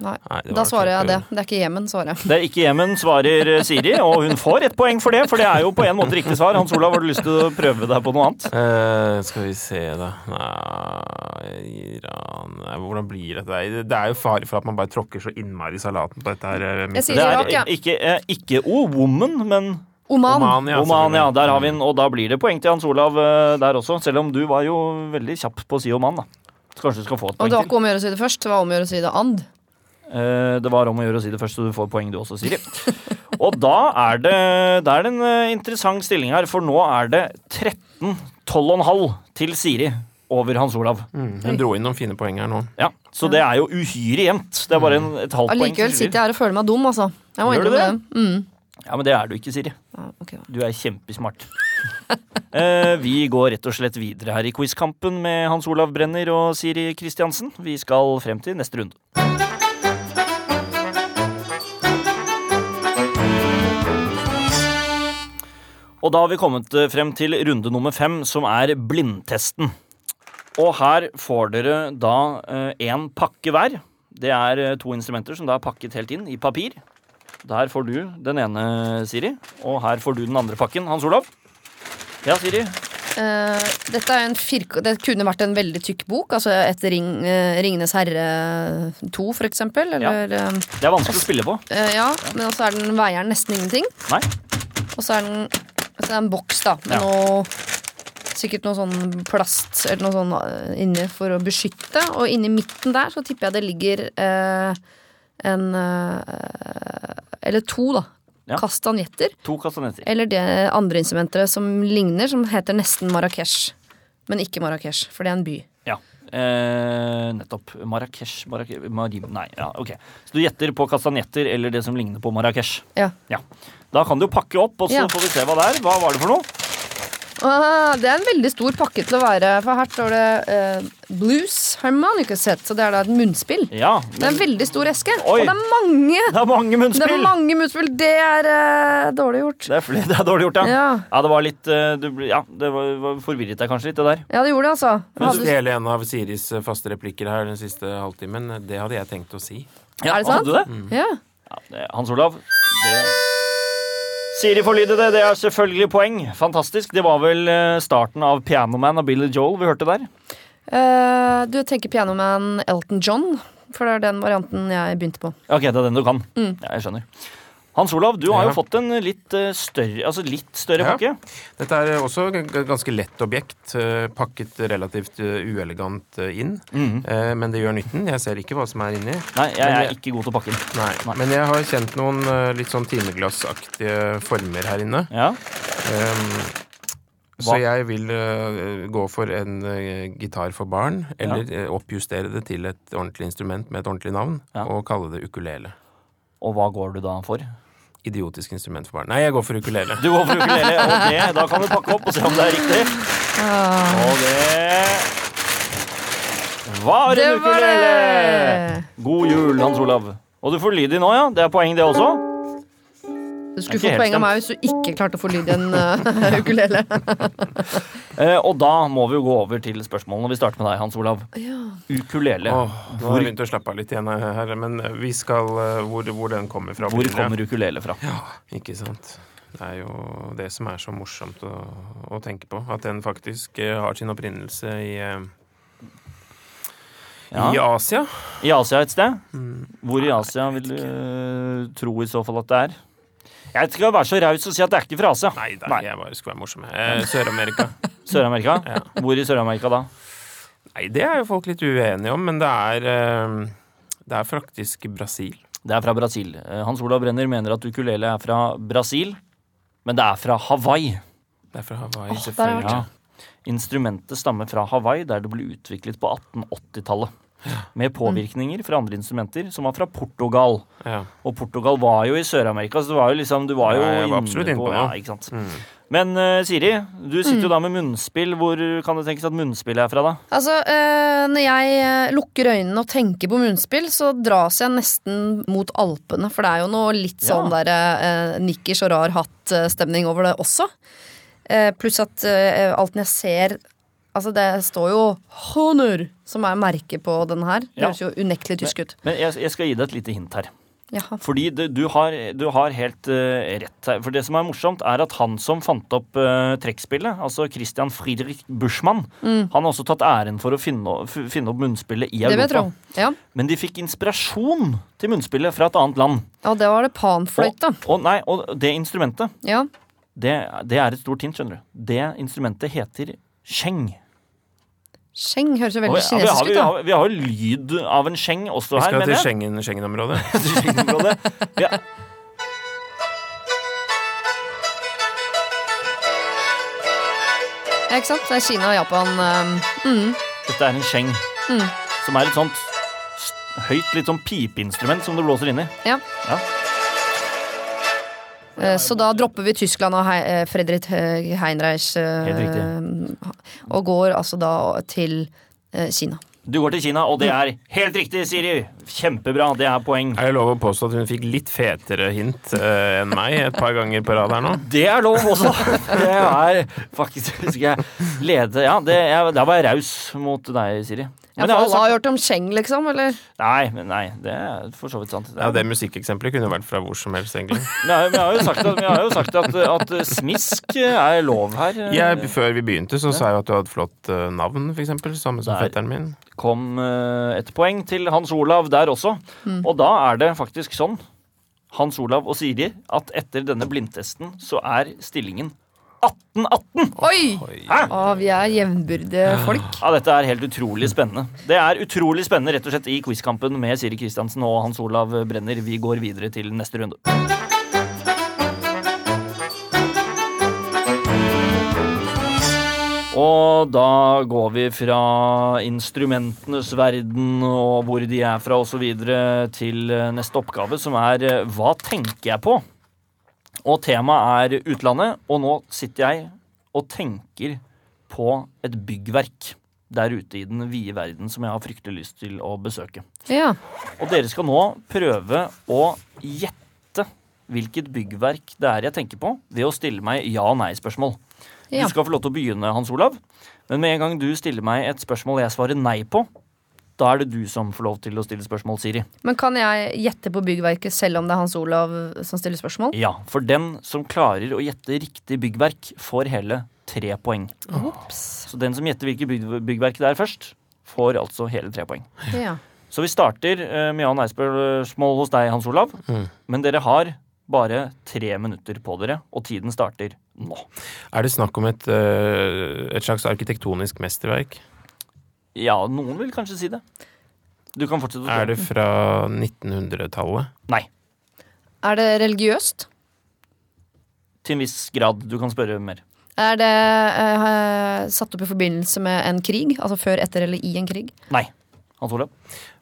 D: Nei.
C: Nei, det var
D: Da svarer jeg
C: kjempe-
D: det. Det er ikke Jemen, svarer jeg.
B: Det er ikke Jemen, svarer eh, Siri, og hun får ett poeng for det, for det er jo på en måte riktig svar. Hans Olav, har du lyst til å prøve deg på noe annet?
C: Eh, skal vi se, da Nei, Iran Nei, Hvordan blir dette? her? Det er jo fare for at man bare tråkker så innmari i salaten på dette her. eh,
D: Jeg sier
B: Det
D: Irak,
B: er
D: ja.
B: ikke, eh, ikke oh, woman, men
D: Oman.
C: Oman, ja.
B: Oman, ja.
C: selvfølgelig.
B: Der har vi den. Og da blir det poeng til Hans Olav eh, der også. Selv om du var jo veldig kjapp på å si Oman, da. Så kanskje du skal få et
D: Og
B: poeng
D: det var
B: til.
D: ikke om å gjøre å si det først, det var om å gjøre å si det and.
B: Eh, Det var om å gjøre å si det først, så du får poeng du også, Siri. *laughs* Og da er det, det er en eh, interessant stilling her, for nå er det 13 12,5 til Siri over Hans Olav.
C: Mm, hun dro inn noen fine poeng her nå.
B: Ja, Så det er jo uhyre jevnt. Det er bare en, et halvt poeng.
D: Allikevel
B: til
D: sitter
B: Siri.
D: jeg her og føler meg dum, altså. Jeg må
B: Gjør du
D: innrømme det. Mm.
B: Ja, Men det er du ikke, Siri.
D: Ja, ok, da.
B: Du er kjempesmart. *laughs* Eh, vi går rett og slett videre her i quizkampen med Hans Olav Brenner og Siri Kristiansen. Vi skal frem til neste runde. Og da har vi kommet eh, frem til runde nummer fem, som er blindtesten. Og her får dere da én pakke hver. Det er eh, to instrumenter som da er pakket helt inn i papir. Der får du den ene, Siri. Og her får du den andre pakken, Hans Olav. Ja, Siri.
D: Eh, dette er en firk det kunne vært en veldig tykk bok, altså et ring, eh, 'Ringenes herre 2', for eksempel. Eller, ja.
B: Det er vanskelig å spille på.
D: ja, men også er den veier nesten ingenting.
B: Nei?
D: Og så er den så er det en boks, da, med
B: Ja.
D: noe Sikkert noe sånn plast eller noe sånn eh, inni for å beskytte. Og inni midten der så tipper jeg det ligger eh, en eh, Eller to, da.
B: Ja.
D: Kastanjetter.
B: To kastanjetter.
D: Eller det andre instrumentet som ligner, som heter nesten Marrakech. Men ikke Marrakech, for det er en by.
B: Ja. Eh, nettopp. Marrakech Marrakech Marim... Nei, ja, ok. Så du gjetter på kastanjetter eller det som ligner på Marrakech.
D: Ja.
B: Ja. Da kan du pakke opp, og så
D: Ja.
B: får vi se hva det er. Hva var det for noe?
D: Ah, det er en veldig stor pakke til å være, for her står det eh, Blues Harmonica Set, så det er da et munnspill.
B: Ja,
D: Det
B: men
D: er en veldig stor eske,
B: Oi.
D: og det er mange!
B: det er mange
D: Det er
B: munnspill!
D: mange munnspill, det er eh, dårlig gjort.
B: Det er, fl- det er dårlig gjort, ja.
D: Ja.
B: Ja, det var litt eh, du, ble- Ja, det var, var forvirret deg kanskje litt, det der.
D: ja, det gjorde det, altså.
C: Men
D: Hadde,
C: stjele en av Siris eh, faste replikker her den siste halvtimen, eh, det hadde jeg tenkt å si.
B: Ja,
D: Er det sant?
B: Hadde du det?
D: ja.
B: Ja, det Eh, Hans Olav. Det Siri forlydede, det er selvfølgelig poeng. Fantastisk. Det var vel eh, starten av Pianoman av Billy Joel vi hørte der.
D: Eh, du tenker Pianoman Elton John, for det er den varianten jeg begynte på.
B: Ok, det er den du kan.
D: Mm.
B: Ja, jeg skjønner. Hans Olav, du har
C: Ja.
B: jo fått en litt eh, større, altså litt større
C: Ja.
B: pakke.
C: Dette er eh, også g- g- ganske lett objekt, eh, pakket relativt eh, uelegant eh, inn.
B: Mhm.
C: Eh, Men det gjør nytten. Jeg ser ikke hva som er inni.
B: Nei, jeg
C: Men
B: er
C: jeg-
B: ikke god til å pakke den.
C: Nei.
B: Nei.
C: Men jeg har kjent noen eh, litt sånn timeglassaktige former her inne.
B: Ja.
C: Ehm, så
B: Hva?
C: jeg vil eh, gå for en eh, gitar for barn, eller eh, oppjustere det til et ordentlig instrument med et ordentlig navn,
B: Ja.
C: og kalle det ukulele.
B: Og hva går du da for?
C: Idiotisk instrument for barn. Nei, jeg går for ukulele.
B: Du går for
D: *laughs*
B: ukulele, og det, da kan du pakke opp og se om det er riktig.
D: Ah.
B: Og det var
D: Det
B: en
D: var det!
B: ukulele! God jul, Hans Olav. Og du får lyd i nå, ja. Det er poeng, det også.
D: Du skulle
B: Det er ikke
D: fått
B: helt
D: poeng av meg hvis du ikke klarte å få lyd i en eh, *laughs* ukulele.
B: Eh, og da må vi jo gå over til spørsmålene. Vi starter med deg, Hans Olav.
D: Ja.
B: Ukulele.
C: Åh, nå har jeg begynt å slappe av litt igjen eh, her, men vi skal eh, Hvor, hvor den kommer fra.
B: Hvor
C: blir det.
B: kommer ukulele fra?
C: Ikke sant. Det er jo det som er så morsomt å, å tenke på. At den faktisk eh, har sin opprinnelse i, eh, i
B: Ja. Mm.
C: Asia.
B: I Asia et sted? Hvor i Asia vil du eh, tro i så fall at det er? Jeg skal være så raus og si at det er ikke fra Asia.
C: Nei da,
B: Nei.
C: jeg bare skulle være morsom. jeg. Eh, Sør-Amerika.
B: Sør-Amerika?
C: Ja.
B: Hvor i Sør-Amerika da?
C: Nei, det er jo folk litt uenige om, men det er, eh, det er faktisk Brasil.
B: Det er fra Brasil. Eh, Hans Olav Brenner mener at ukulele er fra Brasil, men det er fra Hawaii.
C: Det er fra Hawaii,
D: Åh, der har
C: selvfølgelig.
B: Ja. Instrumentet stammer fra Hawaii, der det ble utviklet på 1880-tallet. Med påvirkninger fra andre instrumenter, som var fra Portugal.
C: Ja.
B: Og Portugal var jo i Sør-Amerika, så det var jo liksom du var jo
C: Ja, Mm. jeg var absolutt inne på
B: ja,
C: det.
B: ikke sant? Men eh, Siri, du sitter jo da med munnspill. Hvor kan det tenkes at munnspillet er fra, da?
D: Altså, eh, når jeg eh, lukker øynene og tenker på munnspill, så dras jeg nesten mot Alpene. For det er jo noe litt
B: Ja.
D: sånn der eh, nikkers og rar hatt-stemning over det også. Eh, pluss at eh, alt jeg ser Altså, det står jo Honor, som er merket på den her. Det
B: Ja.
D: høres jo unektelig tysk ut.
B: Men jeg, jeg skal gi deg et lite hint her.
D: Jaha.
B: Fordi det, du, har, du har helt eh, rett her. For det som er morsomt, er at han som fant opp eh, trekkspillet, altså Christian Friedrich Buschmann, han har også tatt æren for å finne, o- f- finne opp munnspillet i
D: Mm. Det vil jeg tro.
B: Europa.
D: Ja.
B: Men de fikk inspirasjon til munnspillet fra et annet land.
D: Og det var det panfløyt, da.
B: Og, og, nei, og det instrumentet,
D: Ja.
B: det, det er et stort hint, skjønner du. Det instrumentet heter skjeng.
D: Skjeng høres jo
B: Og ja,
D: veldig
B: vi, har,
D: kinesisk ut,
B: vi,
D: da.
B: har, vi har jo lyd av en skjeng også
C: Vi
B: her,
C: skal til
B: mener jeg.
C: Schengen- Schengen-området. *laughs*
B: Schengenområdet. Ja.
D: Ja, ikke sant? Det er Kina og Japan. eh, mm.
B: Dette er en skjeng. Som er et sånt s- høyt, litt sånn pipeinstrument som du blåser inn i.
D: Ja.
B: Ja.
D: Eh, Så da dropper vi Tyskland og Hei- eh, Fredrik He- Heinreich eh,
B: Helt
D: og går altså da til eh, Kina.
B: Du går til Kina, og
D: Mm.
B: det er helt riktig, Siri! Kjempebra, det er poeng.
C: Er det lov å påstå at hun fikk litt fetere hint eh, enn meg et par ganger på rad her nå?
B: Det er lov også! *laughs* Det er faktisk Skal jeg lede Ja, det, jeg, der var jeg raus mot deg, Siri. Men jeg har
D: Ja, for alle
B: jo
D: har
B: sagt
D: hørt om Scheng, liksom? Eller?
B: Nei, men nei, det er for så vidt sant.
C: Ja, Det musikkeksemplet kunne vært fra hvor som helst, egentlig.
B: Nei, men jeg har jo sagt at, jeg har jo sagt at, at smisk er lov her.
C: Jeg, før vi begynte, så sa jeg at du hadde flott eh, navn, for eksempel. Samme som
B: Der.
C: fetteren min.
B: kom eh, et poeng til Hans Olav der også. Og da er det faktisk sånn, Hans Olav og Siri, at etter denne blindtesten så er stillingen 18-18!
D: Oi!
C: Oi.
D: Å, vi er jevnbyrdige folk.
B: Ja, dette er helt utrolig spennende. Det er utrolig spennende rett og slett i quizkampen med Siri Kristiansen og Hans Olav Brenner. Vi går videre til neste runde. Og da går vi fra instrumentenes verden og hvor de er fra osv. til eh, neste oppgave, som er eh, Hva tenker jeg på? Og temaet er utlandet, og nå sitter jeg og tenker på et byggverk der ute i den vide verden som jeg har fryktelig lyst til å besøke.
D: Ja.
B: Og dere skal nå prøve å gjette hvilket byggverk det er jeg tenker på, ved å stille meg ja-nei-spørsmål.
D: Ja.
B: Du skal få lov til å begynne, Hans Olav. Men med en gang du stiller meg et spørsmål jeg svarer nei på, da er det du som får lov til å stille spørsmål, Siri.
D: Men kan jeg gjette på byggverket selv om det er Hans Olav som stiller spørsmål?
B: Ja, for den som klarer å gjette riktig byggverk, får hele tre poeng.
D: Ops.
B: Så den som gjetter hvilket bygg byggverk det er først, får altså hele tre poeng.
D: Ja.
B: Så vi starter eh, med ja- og nei-spørsmål hos deg, Hans Olav. Men dere har bare tre minutter på dere, og tiden starter nå.
C: Er det snakk om et, eh, et slags arkitektonisk mesterverk?
B: Ja, noen vil kanskje si det. Du kan fortsette å
C: Er
B: spørre.
C: det fra 1900-tallet?
B: Nei.
D: Er det religiøst?
B: Til en viss grad. Du kan spørre mer.
D: Er det eh, satt opp i forbindelse med en krig? Altså før, etter eller i en krig?
B: Nei. Hans Olav?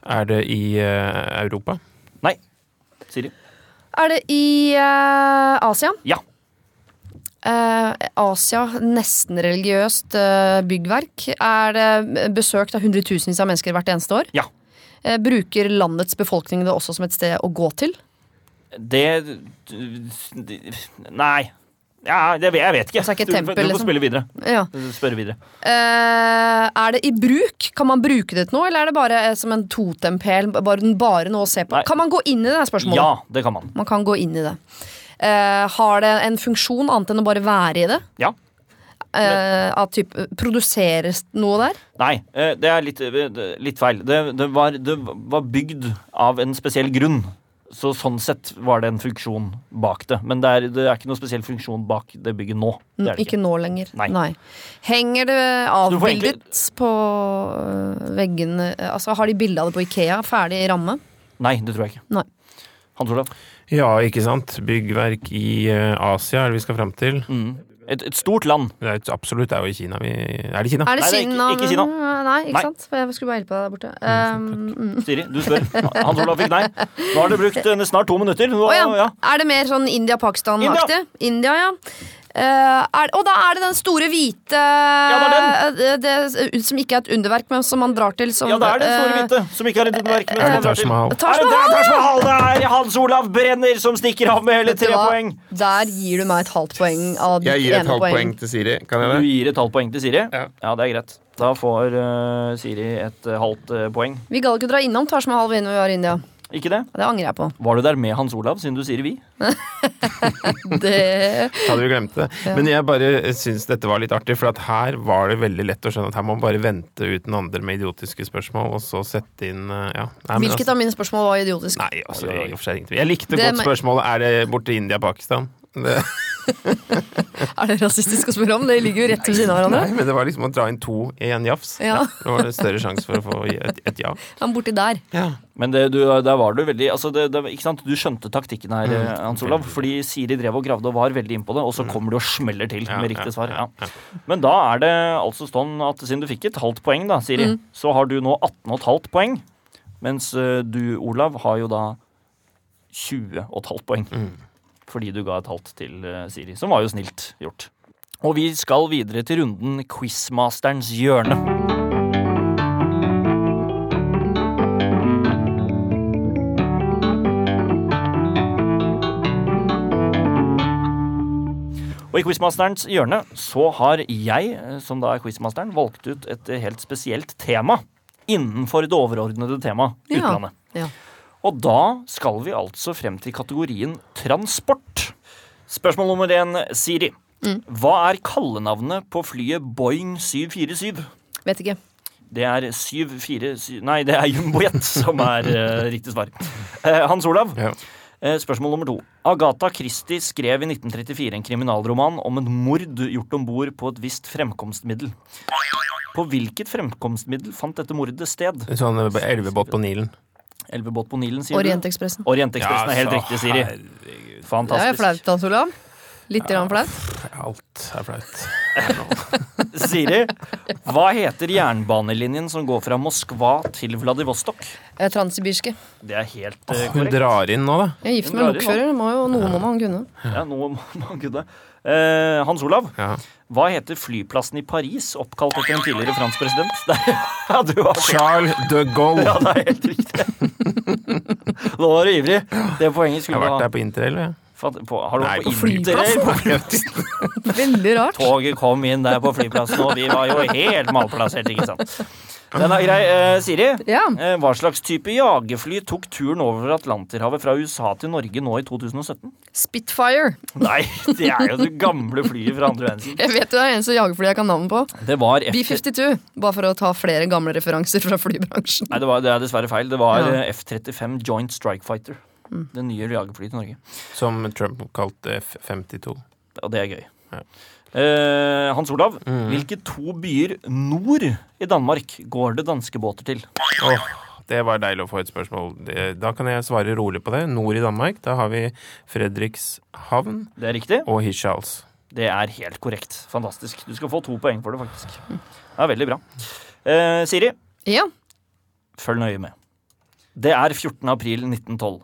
C: Er det i eh, Europa?
B: Nei. Siri?
D: Er det i eh, Asia?
B: Ja.
D: Eh, Asia, nesten religiøst eh, byggverk. Er det besøkt av hundretusenvis av mennesker hvert eneste år?
B: Ja.
D: Eh, bruker landets befolkning det også som et sted å gå til?
B: Det Nei. Ja, det, jeg vet ikke.
D: Altså, ikke et
B: Du-
D: tempel,
B: du, får
D: liksom?
B: spille videre.
D: Ja.
B: Spørre videre.
D: Eh, er det i bruk? Kan man bruke det til noe, eller er det bare eh, som en totempæl? Bare, bare noe å se på?
B: Nei.
D: Kan man gå inn i det her spørsmålet?
B: Ja, det kan man.
D: Man kan gå inn i det. Eh, har det en funksjon annet enn å bare være i det?
B: Ja.
D: Eh, at typ, produseres noe der?
B: Nei, eh, det er litt, eh, det- litt feil. Det, det, var, det var bygd av en spesiell grunn. Så sånn sett var det en funksjon bak det. Men det er, det er ikke noe spesiell funksjon bak det bygget nå. Det er det
D: Mm, ikke. nå lenger.
B: Nei.
D: Henger det
B: du får egentlig-
D: avbildet på øh, veggene Altså, Har de bilde av det på Ikea? Ferdig i ramme?
B: Nei, det tror jeg ikke.
D: Nei.
B: Hans Olav?
C: Ja, ikke sant? Byggverk i eh, Asia er det vi skal fram til.
B: Mm. Et, et stort land.
C: Det er jo absolutt, det er jo i Kina vi Er det Kina?
D: Er
B: Nei, det
D: det
B: er ikke-
D: Kina?
B: ikke Kina.
D: men- Nei, ikke
B: Nei.
D: sant? For Jeg skulle bare hjelpe deg der borte. Um, mm.
B: Siri, du spør. Hans Olav fikk nei. Nå har dere brukt eh, snart to minutter. Nå,
D: Å ja.
B: ja.
D: Er det mer sånn India-Pakistan-aktig? India. ja. Eh, er, og da er det den store hvite øh,
B: Ja,
D: det det- Som ikke er et underverk, men som man drar til som
B: Ja, det er det store
D: eh,
B: hvite, som ikke har et underverk. men
C: Er
B: som
C: det
B: drar til.
C: Taj Mahal?
D: Taj
B: Er det det er Taj Mahal? Det er Hans Olav Brenner som stikker av med hele
D: Vet du
B: tre
D: hva?
B: poeng.
D: Der gir du meg et halvt poeng av ditt
A: Jeg gir et
D: ene
A: halvt
D: poeng.
A: poeng til Siri. Kan
B: Du
A: jeg det?
B: gir et halvt poeng til Siri?
A: Ja.
B: det er greit. Da får eh, Siri et eh, halvt eh, poeng.
D: Vi gadd ikke dra innom Taj Mahal vi når vi var i India.
B: Ikke det?
D: Det angrer jeg på.
B: Var du der med Hans Olav, siden du sier vi?
D: Det,
C: Hadde vi glemt det. Men jeg bare syns dette var litt artig, for at her var det veldig lett å skjønne at her må man bare vente ut den andre med idiotiske spørsmål, og så sette inn eh, ja. Nei, men
D: hvilket av mine spørsmål var idiotisk?
C: Nei, altså, i og for seg ingenting. Jeg likte
D: Det
C: godt
D: må-
C: spørsmålet er det borte i India-Pakistan. *laughs* Det,
D: Er det rasistisk å spørre om? Det ligger jo rett ved siden av
C: nei,
D: hverandre.
C: men det var liksom å dra inn to i en jafs.
D: Ja.
C: Da var det større sjanse for å få et, et ja.
D: Han borti der.
B: Men det, du, der var du veldig altså det, det, Ikke sant? Du skjønte taktikken her,
C: Mm.
B: eh, Hans Olav. Fordi Siri drev og gravde og var veldig innpå det, og så kommer du og smeller til
C: Ja,
B: med
C: ja,
B: riktig svar.
C: ja,
B: Ja. Men da er det altså sånn at siden du fikk et halvt poeng, da, Siri, så har du nå 18,5 poeng. Mens eh, du, Olav, har jo da 20,5 poeng. Fordi du ga et halvt til eh, Siri, som var jo snilt gjort. Og vi skal videre til runden Quizmasterens hjørne. Og i Quizmasterens hjørne så har jeg, eh, som da er quizmasteren, valgt ut et eh, helt spesielt tema innenfor det overordnede temaet
D: Ja.
B: utlandet.
D: Ja.
B: Og da skal vi altså frem til kategorien transport. Spørsmål nummer én, Siri. Hva er kallenavnet på flyet Boeing 747?
D: Vet ikke.
B: Det er 747 Nei, det er jumbojet som er eh, riktig svar. Eh, Hans Olav,
C: Ja.
B: eh, spørsmål nummer to. Agatha Christie skrev i 1934 en kriminalroman om en mord gjort om bord på et visst fremkomstmiddel. På hvilket fremkomstmiddel fant dette mordet sted?
C: En sånn elvebåt på Nilen.
B: Elvebåt på Nilen, sier du?
D: Orientekspressen.
B: Orientekspressen er helt
C: så
B: riktig, Siri.
C: herregud,
D: Det er
B: Fantastisk.
D: flaut, Hans Olav. Litt grann flaut.
C: Alt er flaut.
B: *laughs* Siri, hva heter jernbanelinjen som går fra Moskva til Vladivostok?
D: Eh, Transsibirske.
B: Det er helt eh,
C: Hun
B: korrekt.
C: drar inn nå, da.
D: Jeg er gift med en
B: Hun drar i
D: lokfører. det Må jo, noe må man kunne.
B: Ja, noe må man kunne. Eh, Hans Olav,
C: Ja.
B: hva heter flyplassen i Paris oppkalt etter en tidligere fransk president? *laughs* Der, ja, du har
C: Charles de Gaulle.
B: Ja, det er helt riktig. Nå var du ivrig. Det poenget
C: Jeg
B: skulle
C: har
B: du ha.
C: vært der på interrail, jeg.
B: Fatt- På, har du
C: Nei,
B: vært
C: på
B: på *laughs* interrail?
D: Veldig rart.
B: Toget kom inn der på flyplassen, og vi var jo helt malplassert, ikke sant. Den er grei. Eh, Siri,
D: Ja.
B: eh, hva slags type jagerfly tok turen over Atlanterhavet fra USA til Norge nå i 2017?
D: Spitfire.
B: Nei, det er jo det gamle flyet fra andre verdenskrig.
D: Jeg vet jo det er eneste jagerfly jeg kan navnet på.
B: Det var F...
D: B-52. Bare for å ta flere gamle referanser fra flybransjen.
B: Nei, det, var, det er dessverre feil. Det var
D: Ja.
B: eh, F-35 Joint Strike Fighter. Det nye jagerflyet til Norge.
C: *laughs* Som Trump kalte F-52.
B: Og det er gøy.
C: Ja.
B: Eh, Hans Olav, hvilke to byer nord i Danmark går det danske båter til?
C: Åh, det var deilig å få et spørsmål. Det- Da kan jeg svare rolig på det. Nord i Danmark, da har vi Fredrikshavn
B: Det er riktig.
C: og Hirtshals.
B: Det er helt korrekt. Fantastisk. Du skal få to poeng for det, faktisk. Det er veldig bra. Eh, Siri,
D: Ja.
B: følg nøye med. Det er 14. april 1912.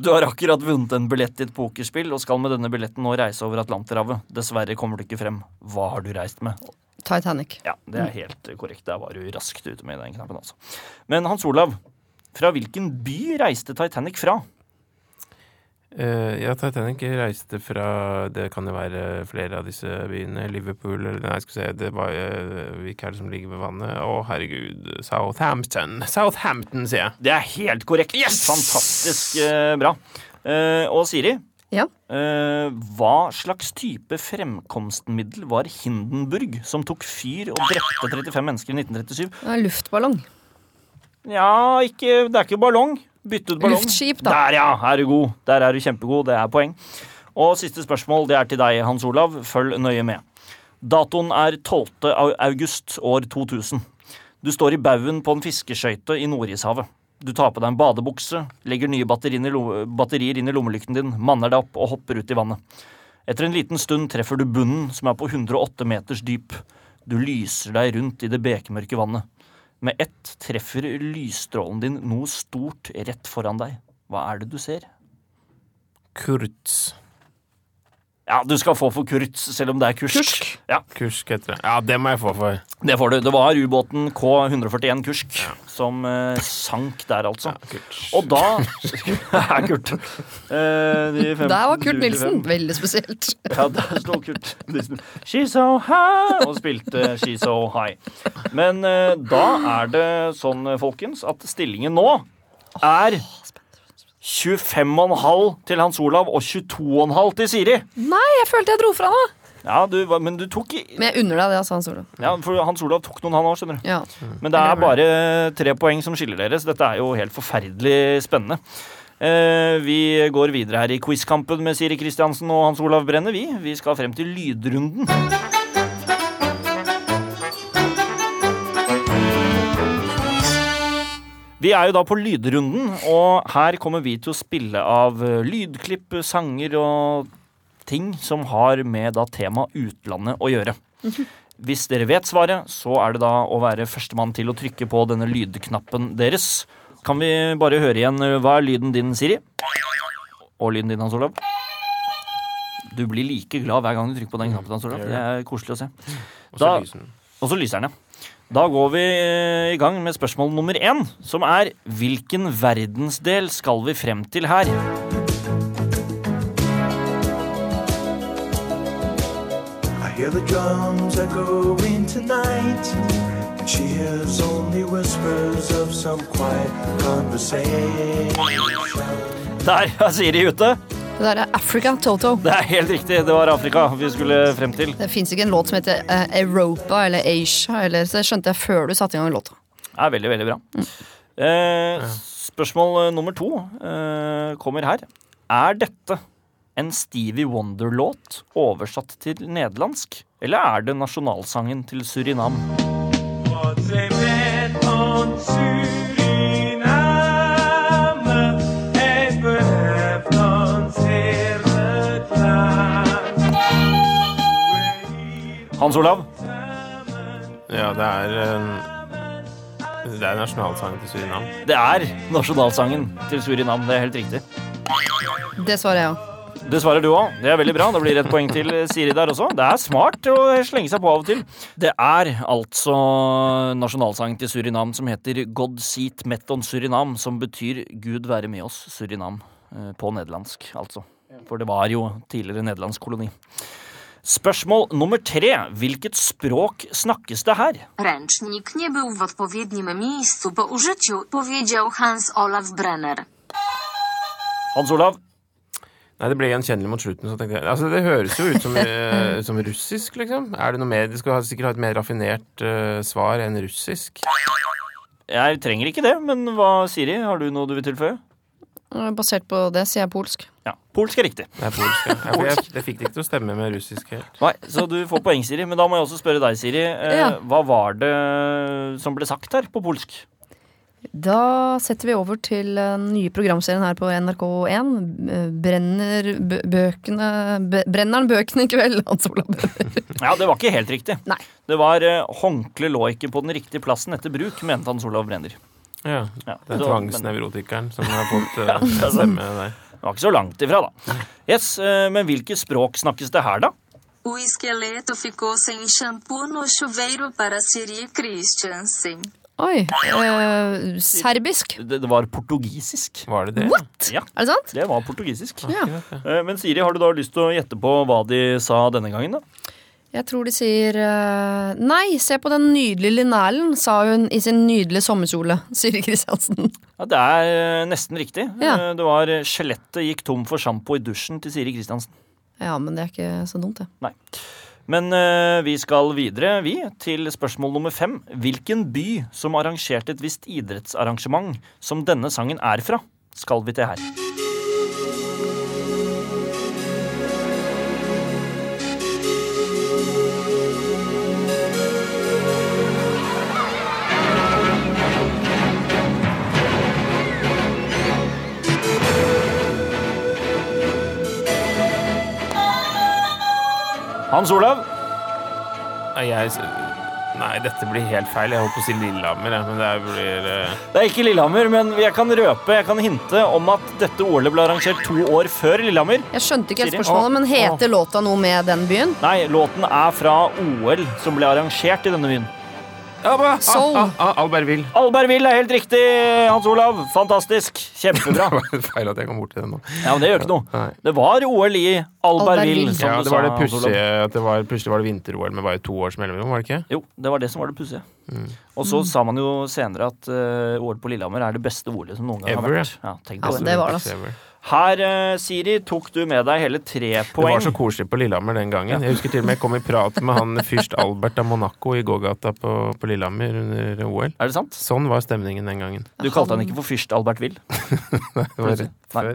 B: Du har akkurat vunnet en billett til et pokerspill og skal med denne billetten nå reise over Atlanterhavet. Dessverre kommer du ikke frem. Hva har du reist med?
D: Titanic.
B: Ja, det er helt korrekt. Der var du raskt ute med den knappen, altså. Men Hans Olav, fra hvilken by reiste Titanic fra?
C: Eh, ja, Titanic reiste fra Det kan jo være flere av disse byene. Liverpool eller Nei, skal vi se det var, eh, Hvilke er det som ligger ved vannet? Å, herregud. Southampton. Southampton, sier jeg.
B: Det er helt korrekt. Yes! Fantastisk eh, bra. Eh, og Siri,
D: Ja.
B: eh, hva slags type fremkomstmiddel var Hindenburg som tok fyr og drepte 35 mennesker i 1937?
D: Det er Luftballong.
B: Ja, ikke, det er ikke ballong. Bytte ut ballong.
D: Luftskip, da.
B: Der, ja! Her er du god. Der er du kjempegod. Det er poeng. Og siste spørsmål, det er til deg, Hans Olav. Følg nøye med. Datoen er 12. au- august år 2000. Du står i baugen på en fiskeskøyte i Nordishavet. Du tar på deg en badebukse, legger nye batterier inn i, lo batterier inn i lommelykten din, manner deg opp og hopper ut i vannet. Etter en liten stund treffer du bunnen, som er på 108 meters dyp. Du lyser deg rundt i det bekmørke vannet. Med ett treffer lysstrålen din noe stort rett foran deg. Hva er det du ser?
C: Kurz.
B: Ja, du skal få for kurz, selv om det er kursk.
D: Kursk.
B: Ja,
C: Kursk heter det. Ja, det må jeg få for.
B: Det får du. Det var ubåten K141 Kursk som eh, sank der, altså.
C: Kurz.
B: Og da *laughs* Ja, Kurt. Eh, de fem-
D: Der var
B: 25.
D: Kurt Nilsen. Veldig spesielt.
B: Ja, der sto Kurt Nilsen. She's so high Og spilte She's so high. Men eh, da er det sånn, folkens, at stillingen nå er 25,5 til Hans Olav og 22,5 til Siri.
D: Nei, jeg følte jeg dro fra nå.
B: Ja, du, var- men du tok i-
D: Men jeg unner deg det, altså, Hans Olav.
B: Ja, for Hans Olav tok noen, han òg, skjønner du.
D: Ja.
B: Men det er bare tre poeng som skiller dere, så dette er jo helt forferdelig spennende. Eh, Vi går videre her i quizkampen med Siri Kristiansen og Hans Olav Brenne, vi. Vi skal frem til lydrunden. Vi er jo da på lydrunden, og her kommer vi til å spille av eh, lydklipp, sanger og ting som har med da tema utlandet å gjøre. Hvis dere vet svaret, så er det da å være førstemann til å trykke på denne lydknappen deres. Kan vi bare høre igjen eh, hva er lyden din, Siri? Og lyden din, Hans Olav? Du blir like glad hver gang du trykker på den knappen. Hans Olav. Det er koselig å se.
C: Og
B: Da-
C: så lysen.
B: Og så lyser den, ja. Da går vi eh, i gang med spørsmål nummer én, som er hvilken verdensdel skal vi frem til her?
A: I hear the drums echoing tonight. and She hears only whispers of some quiet conversation.
B: Der *laughs* er Siri ute.
D: Det der er Africa Toto.
B: Det er helt riktig, det var Afrika vi skulle frem til.
D: Det fins ikke en låt som heter eh, Europa eller Asia, eller, så det skjønte jeg før du satte i gang låta.
B: Det er veldig, veldig bra. Eh, spørsmål eh, nummer to eh, kommer her. Er dette en Stevie Wonder-låt oversatt til nederlandsk? Eller er det nasjonalsangen til Surinam?
E: Wat een met ons Suriname, hij beheft ons heerlijk land.
B: Hans Olav?
C: Ja, det er eh, Det er nasjonalsangen til Surinam.
B: Det er nasjonalsangen til Surinam. Det er helt riktig.
D: Det svarer jeg òg.
B: Det svarer du òg. Det er veldig bra. Da blir det et poeng til eh, Siri der også. Det er smart å slenge seg på av og til. Det er altså nasjonalsangen til Surinam som heter God seat metton Surinam, som betyr Gud være med oss, Surinam. eh, På nederlandsk, altså. For det var jo tidligere nederlandsk koloni. Spørsmål nummer tre. Hvilket språk snakkes det her?
F: Ręcznik nie był w odpowiednim miejscu po użyciu, powiedział Hans Olaf Brenner.
B: Hans Olav?
C: Nei, det ble gjenkjennelig mot slutten. Så tenkte jeg, altså Det høres jo ut som, *laughs* eh, som russisk, liksom. Er det noe mer, De skal ha- sikkert ha et mer raffinert eh, svar enn russisk.
B: Jeg trenger ikke det, men hva, Siri? Har du noe du vil tilføye?
D: Basert på det sier jeg polsk.
B: Ja. Polsk er riktig.
C: Det er polsk. ja. Ja, for jeg, jeg fikk det ikke til å stemme med russisk helt.
B: Nei, så du får poeng, Siri. Men da må jeg også spørre deg, Siri. Eh,
D: Ja.
B: Hva var det eh, som ble sagt her på polsk?
D: Da setter vi over til den nye programserien her på NRK1. Brenner bø- bøkene bø- Brenneren bøkene i kveld, Hans Olav Brenner.
B: Ja, det var ikke helt riktig.
D: Nei.
B: Det var eh, 'håndkle lå ikke på den riktige plassen etter bruk', mente Hans Olav Brenner.
C: Ja,
B: Ja,
C: Det
B: så-
C: er
B: men
C: tvangsnevrotikeren som har fått eh, stemme der.
B: Det var ikke så langt ifra, da. Yes, eh, Men hvilke språk snakkes det her, da?
F: O esqueleto ficou sem shampoo no chuveiro para Siri Christensen.
D: Oi. Eh, serbisk.
B: Det, det var portugisisk.
C: Var det det?
B: Ja,
D: Er det sant?
B: det var portugisisk.
D: Ja.
B: Eh, Men Siri, har du da lyst til å gjette på hva de sa denne gangen, da?
D: Jeg tror de sier eh, Nei, se på den nydelige linerlen, sa hun i sin nydelige sommerkjole, *laughs* Siri Kristiansen.
B: Ja, Det er eh, nesten riktig.
D: Ja.
B: Eh, Det var eh, 'skjelettet gikk tom for sjampo i dusjen' til Siri Kristiansen.
D: Ja, men det er ikke så dumt, det.
B: Nei. Men eh, vi skal videre, vi, til spørsmål nummer fem. Hvilken by som arrangerte et visst idrettsarrangement som denne sangen er fra, skal vi til her. Hans Olav,
C: Nei, jeg, nei, dette blir helt feil. Jeg holdt på å si Lillehammer, jeg, men det er- blir eh,
B: det er ikke Lillehammer, men jeg kan røpe, jeg kan hinte om at dette OL-et ble arrangert to år før Lillehammer.
D: Jeg skjønte ikke helt
B: Siri?
D: spørsmålet, men
C: Å,
D: heter låta noe med den byen?
B: Nei, låten er fra OL som ble arrangert i denne byen.
D: Soul.
C: Ah, ah, ah, Albertville.
B: Albertville er helt riktig, Hans Olav. Fantastisk. Kjempebra.
C: *laughs* Det var feil at jeg kom bort til den nå.
B: Ja, men det gjør ikke noe.
C: Nei.
B: Det var OL i Albertville,
D: Albertville.
B: som
C: Ja,
B: du
C: det
B: sa,
C: var det
B: Hans Olav.
C: pussige at det var, plutselig var det vinter-OL med bare to års mellomrom, var det ikke?
B: Jo, det var det som var det pussige.
C: Mm.
B: Og
D: Mm.
B: så sa man jo senere at eh, OL på Lillehammer er det beste OL-et som noen gang
C: Ever,
B: har vært. Ja, tenk
D: Ja,
B: det.
D: det var det, altså.
C: Det
B: Her, eh, Siri, tok du med deg hele tre poeng.
C: var så koselig på Lillehammer den gangen. Jeg husker til og med jeg kom i prat med han fyrst Albert av Monaco i gågata på, på Lillehammer under OL.
B: Er det sant?
C: Sånn var stemningen den gangen.
B: Du kalte han ikke for fyrst Albert Will.
C: Det var rett
B: Nei.
C: før.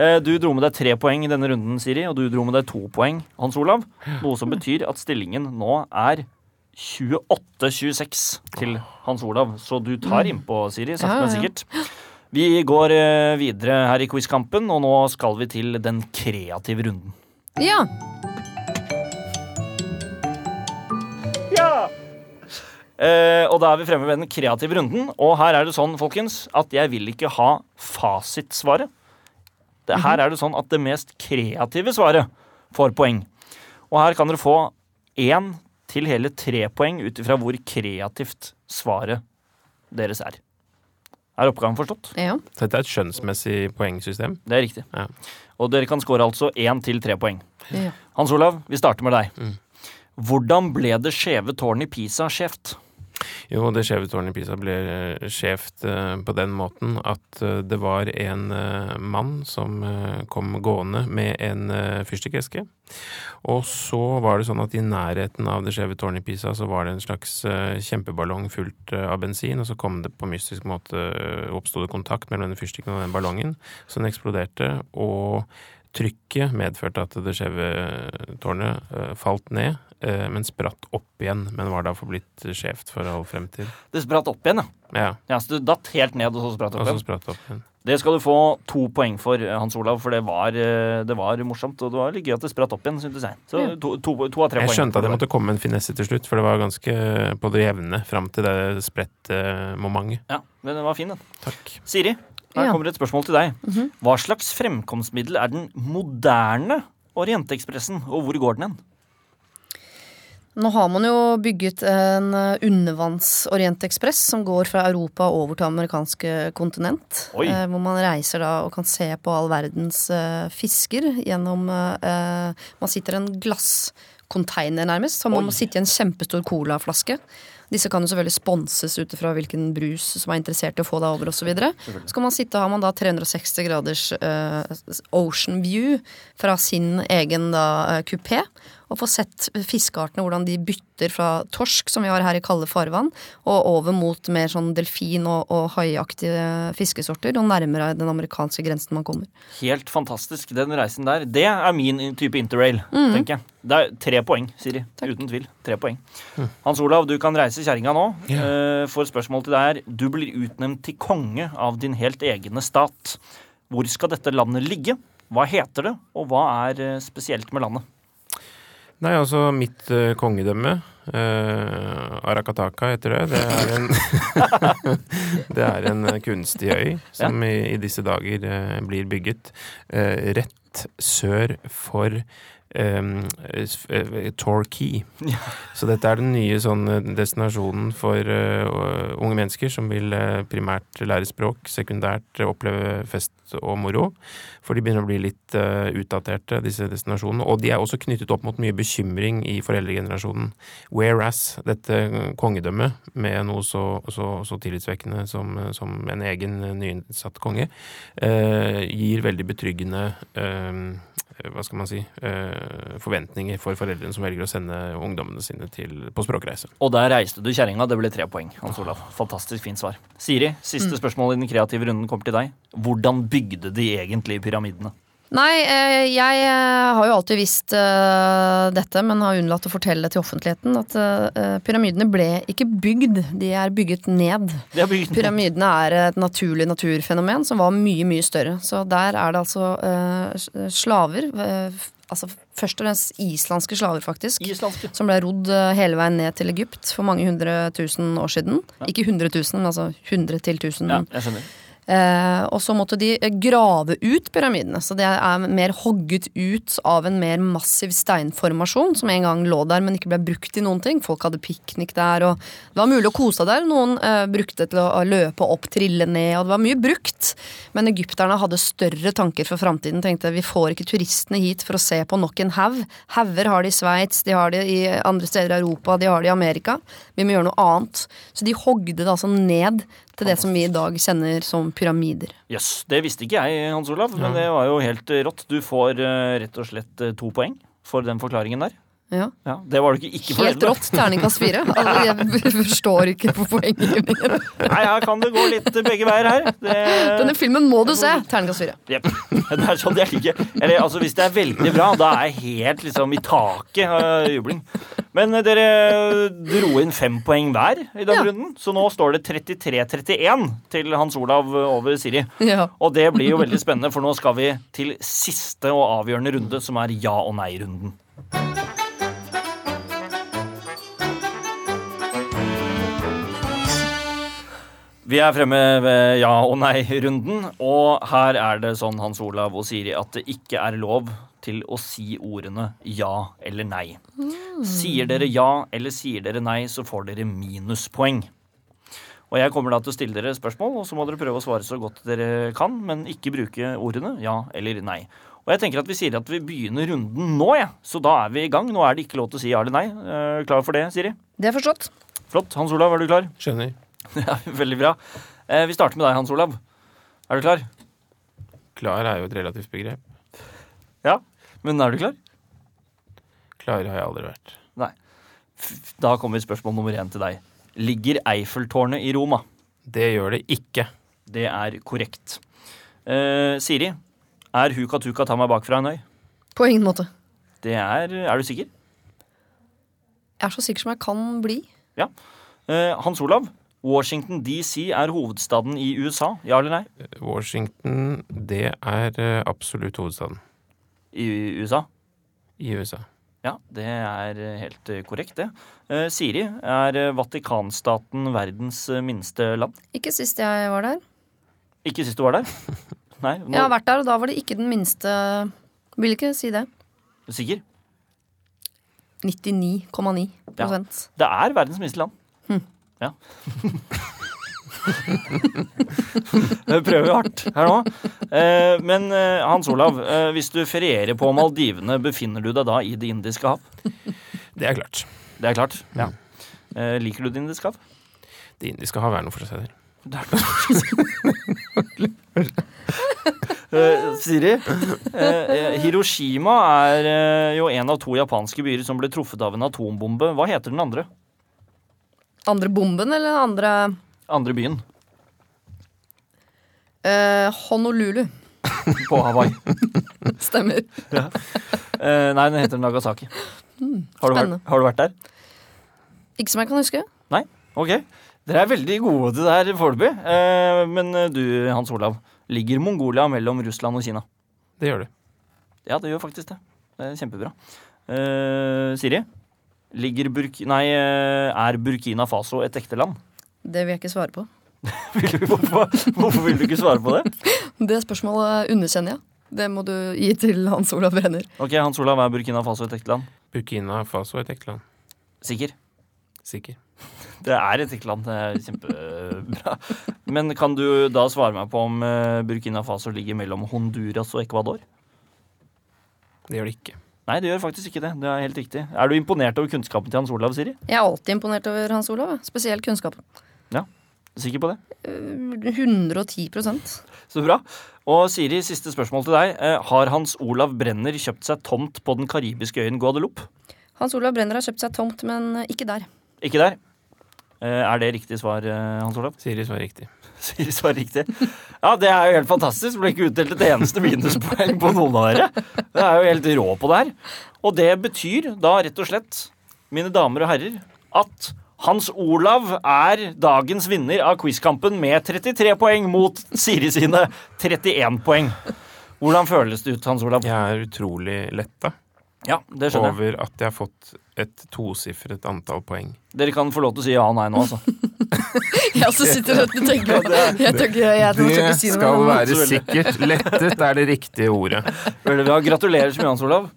B: Eh, Du dro med deg tre poeng i denne runden, Siri, og du dro med deg to poeng, Hans Olav. Noe som betyr at stillingen nå er 28-26 til Hans Olav. Så du tar innpå, Siri, sakte,
D: Mm. Ja,
B: men
D: ja, ja.
B: sikkert. Vi går eh, videre her i quizkampen, og nå skal vi til den kreative runden.
D: Ja.
B: Eh, og da er vi fremme ved den kreative runden. Og her er det sånn, folkens, at jeg vil ikke ha fasitsvaret. Det, her er det sånn at det mest kreative svaret får poeng. Og her kan dere få én til hele tre poeng ut ifra hvor kreativt svaret deres er. Er oppgaven forstått?
D: ja.
C: Så Dette er et skjønnsmessig poengsystem.
B: Det er riktig.
C: Ja.
B: Og dere kan score altså én til tre poeng.
D: ja.
B: Hans Olav, vi starter med deg. Hvordan ble det skjeve tårnet i Pisa skjevt?
C: Jo, det skjeve tårnet i Pisa ble eh, skjevt eh, på den måten at eh, det var en eh, mann som eh, kom gående med en eh, fyrstikkeske. Og så var det sånn at i nærheten av det skjeve tårnet i Pisa så var det en slags eh, kjempeballong fullt eh, av bensin, og så kom det på mystisk måte eh, oppstod det kontakt mellom denne fyrstikken og den ballongen, så den eksploderte, og Trykket medførte at det skjeve tårnet eh, falt ned, eh, men spratt opp igjen. Men var da forblitt skjevt for all fremtid.
B: Det spratt opp igjen, ja.
C: Ja,
B: ja så det datt helt ned, og så spratt
C: og
B: opp
C: så
B: igjen.
C: spratt det opp igjen.
B: Det skal du få to poeng for, eh, Hans Olav, for det var, eh, det var morsomt. Og det var litt gøy at det spratt opp igjen, syntes jeg. Så to, to, to av tre
C: Jeg
B: poeng.
C: skjønte at jeg måtte komme med en finesse til slutt, for det var ganske på det jevne fram til det spredte eh, momentet.
B: Ja, men den var fin, den.
C: Takk.
B: Siri, her
D: Ja.
B: kommer et spørsmål til deg. Hva slags fremkomstmiddel er den moderne Orientekspressen, og hvor går den hen?
D: Nå har man jo bygget en eh, undervannsorientekspress som går fra Europa over til amerikanske kontinent.
B: Oi.
D: eh, Hvor man reiser da og kan se på all verdens eh, fisker gjennom eh, eh, Man sitter i en glasscontainer nærmest, så man må sitte i en kjempestor colaflaske. Disse kan jo selvfølgelig sponses ut ifra hvilken brus som er interessert i å få deg over osv. Så, videre. så kan man sitte og har man da 360 graders eh, ocean view fra sin egen da, eh, kupé. Og få sett fiskeartene, hvordan de bytter fra torsk, som vi har her i kalde farvann, og over mot mer sånn delfin- og, og haiaktige fiskesorter, og nærmere den amerikanske grensen man kommer.
B: Helt fantastisk, den reisen der. Det er min type interrail, tenker jeg. Det er tre poeng, Siri. Uten tvil. Tre poeng. Hans Olav, du kan reise kjerringa nå. Eh, For spørsmålet til deg er Du blir utnevnt til konge av din helt egne stat. Hvor skal dette landet ligge? Hva heter det, og hva er eh, spesielt med landet?
C: Nei, altså mitt eh, kongedømme eh, Arakataka heter det. Det er en, *laughs* det er en eh, kunstig øy som i, i disse dager eh, blir bygget eh, rett sør for um, Torquay. Så dette er den nye sånn eh, destinasjonen for eh, å- unge mennesker som vil eh, primært lære språk, sekundært eh, oppleve fest og moro. For de begynner å bli litt eh, utdaterte, disse destinasjonene. Og de er også knyttet opp mot mye bekymring i foreldregenerasjonen. Whereas dette eh, kongedømmet, med noe så, så, så tillitsvekkende som, som en egen eh, nyinnsatt konge, eh, gir veldig betryggende eh, hva skal man si eh, forventninger for foreldrene som velger å sende ungdommene sine til, på språkreise.
B: Og der reiste du kjerringa. Det ble tre poeng. Hans Olav. Fantastisk fint svar. Siri, siste spørsmål i den kreative runden kommer til deg. Hvordan bygde de egentlig pyramidene?
D: Nei, eh, jeg eh, har jo alltid visst eh, dette, men har unnlatt å fortelle det til offentligheten. At eh, pyramidene ble ikke bygd, de er bygget ned.
B: De er bygd
D: Pyramidene er et naturlig naturfenomen som var mye, mye større. Så der er det altså eh, s- slaver, eh, f- altså først og fremst islandske slaver, faktisk.
B: Islandske.
D: Som ble rodd eh, hele veien ned til Egypt for mange hundre tusen år siden. Ikke hundre tusen, men altså hundre til tusen.
B: Ja, jeg skjønner.
D: Eh, og så måtte de eh, grave ut pyramidene. Så det er mer hogget ut av en mer massiv steinformasjon som en gang lå der, men ikke ble brukt til noen ting. Folk hadde piknik der, og det var mulig å kose seg der. Noen eh, brukte det til å å løpe opp, trille ned, og det var mye brukt. Men egypterne hadde større tanker for framtiden. Tenkte vi får ikke turistene hit for å se på nok en haug. Hauger har de i Sveits, de har det i andre steder i Europa, de har det i Amerika. Vi må gjøre noe annet. Så de hogde det altså ned til det som vi i dag kjenner som pyramider.
B: Jøss, yes, det visste ikke jeg, Hans Olav, men det var jo helt eh, rått. Du får eh, rett og slett eh, to poeng for den forklaringen der.
D: Ja.
B: Ja, det var du ikke ikke fornøyd
D: Helt
B: med.
D: rått terningkast fire. Altså, jeg forstår ikke på poenget mitt.
B: Nei, her kan det gå litt eh, begge veier her. Det,
D: Denne filmen må du se! Terningkast fire.
B: Jep. *laughs* det er sånn jeg liker. Eller altså, hvis det er veldig bra, da er jeg helt liksom i taket av jubling. Men eh, dere dro inn fem poeng hver i den
D: Ja.
B: runden, så nå står det 33-31 til Hans Olav eh, over Siri.
D: Ja.
B: *laughs* Og det blir jo veldig spennende, for nå skal vi til siste og avgjørende runde, som er ja- og nei-runden. Vi er fremme ved ja- og nei-runden, og her er det sånn, Hans Olav og Siri, at det ikke er lov til å si ordene ja eller nei. Sier dere ja eller sier dere nei, så får dere minuspoeng. Og jeg kommer da til å stille dere spørsmål, og så må dere prøve å svare så godt dere kan, men ikke bruke ordene ja eller nei. Og jeg tenker at vi sier at vi begynner runden nå, ja. så da er vi i gang. Nå er det ikke lov til å si ja eller nei. Eh, klar for det, Siri?
D: Det er forstått.
B: Flott. Hans Olav, er du klar? *laughs*
C: Skjønner.
B: Ja, Veldig bra. Eh, vi starter med deg, Hans Olav. Er du klar?
C: Klar er jo et relativt begrep.
B: Ja. Men er du klar?
C: Klar har jeg aldri vært.
B: Nei. F- Da kommer spørsmål nummer én til deg. Ligger Eiffeltårnet i Roma?
C: Det gjør det ikke.
B: Det er korrekt. Eh, Siri, Er Huka Tuka ta meg bakfra en øy?
D: På ingen måte.
B: Det er Er du sikker?
D: Jeg er så sikker som jeg kan bli.
B: Ja. Eh, Hans Olav, Washington DC er hovedstaden i USA. Ja eller nei?
C: Washington, det er eh, absolutt hovedstaden
B: I USA?
C: i USA.
B: Ja, det er helt eh, korrekt, det. Eh, Siri, er eh, Vatikanstaten verdens eh, minste land?
D: Ikke sist jeg var der.
B: Ikke sist du
D: *laughs*
B: var der? Nei? Nå,
D: Jeg har vært der, og da var det ikke den minste Vil ikke si det.
B: Sikker?
D: 99,9
B: Det er verdens minste land.
D: Hm.
B: Ja. Jeg prøver hardt her nå. Eh, Men eh, Hans Olav, eh, hvis du ferierer på Maldivene, befinner du deg da i Det indiske hav?
C: Det er klart.
B: Det er klart. Ja. Eh, Liker du Det indiske hav?
C: Det indiske hav er noe for seg der.
B: Eh, Siri, *laughs* eh, Hiroshima er eh, jo en av to japanske byer som ble truffet av en atombombe. Hva heter den andre?
D: Andre bomben eller den andre
B: Andre byen
D: eh, Honolulu.
B: på Hawaii.
D: Stemmer.
B: *laughs* Eh, Nei, den heter Nagasaki. Har du, vært,
D: spennende.
B: har du vært der?
D: Ikke som jeg kan huske.
B: Nei? Ok. Dere er veldig gode til det her foreløpig. Eh, Men eh, du, Hans Olav, ligger Mongolia mellom Russland og Kina?
C: Det gjør det.
B: Ja, det gjør faktisk det. Det er kjempebra. Eh, Siri, ligger Burk... Nei, eh, er Burkina Faso et ekte land?
D: Det vil jeg ikke svare på.
B: Hvorfor, hvorfor vil du ikke svare på det?
D: Det spørsmålet underkjenner jeg. Det må du gi til Hans Olav Brenner.
B: Ok, Hans Olav, er Burkina Faso et ekte land?
C: Burkina Faso er et ekte land.
B: Sikker?
C: Sikker.
B: Det er et ekte land. Det er kjempebra. Men kan du da svare meg på om eh, Burkina Faso ligger mellom Honduras og Ecuador?
C: Det gjør det ikke.
B: Nei, det gjør faktisk ikke det. Det er helt riktig. Er du imponert over kunnskapen til Hans Olav, Siri?
D: Jeg er alltid imponert over Hans Olav. jeg. Spesielt kunnskapen. Eh,
B: Sikker på det?
D: 110 Nei,
B: Så bra. Og Siri, siste spørsmål til deg. Eh, Har Hans Olav Brenner kjøpt seg tomt på den karibiske øyen Guadeloupe?
D: Hans Olav Brenner har kjøpt seg tomt, men eh,
B: *laughs*
D: ikke der.
B: Ikke der? Eh, Er det riktig svar, eh, Hans Olav?
C: Siri svarer riktig.
B: *laughs* Siri svarer riktig. Ja, det er jo helt fantastisk. Det Ble ikke utdelt et eneste minuspoeng på noen av dere. Det er jo helt rå på det her. Og det betyr da rett og slett, mine damer og herrer, at Hans Olav er dagens vinner av quizkampen med 33 poeng mot Siri sine 31 poeng. Hvordan føles det ut, Hans Olav?
C: Jeg er utrolig letta
B: Ja, det skjønner jeg.
C: over at jeg har fått et tosifret antall poeng.
B: Dere kan få lov til å si ja og nei nå, altså.
D: Jeg så sitter og tenker på det. Jeg tør ikke jeg tør ikke si noe.
C: skal være sikkert. Lettet er det riktige ordet.
B: Veldig bra. Gratulerer så mye, Hans Olav.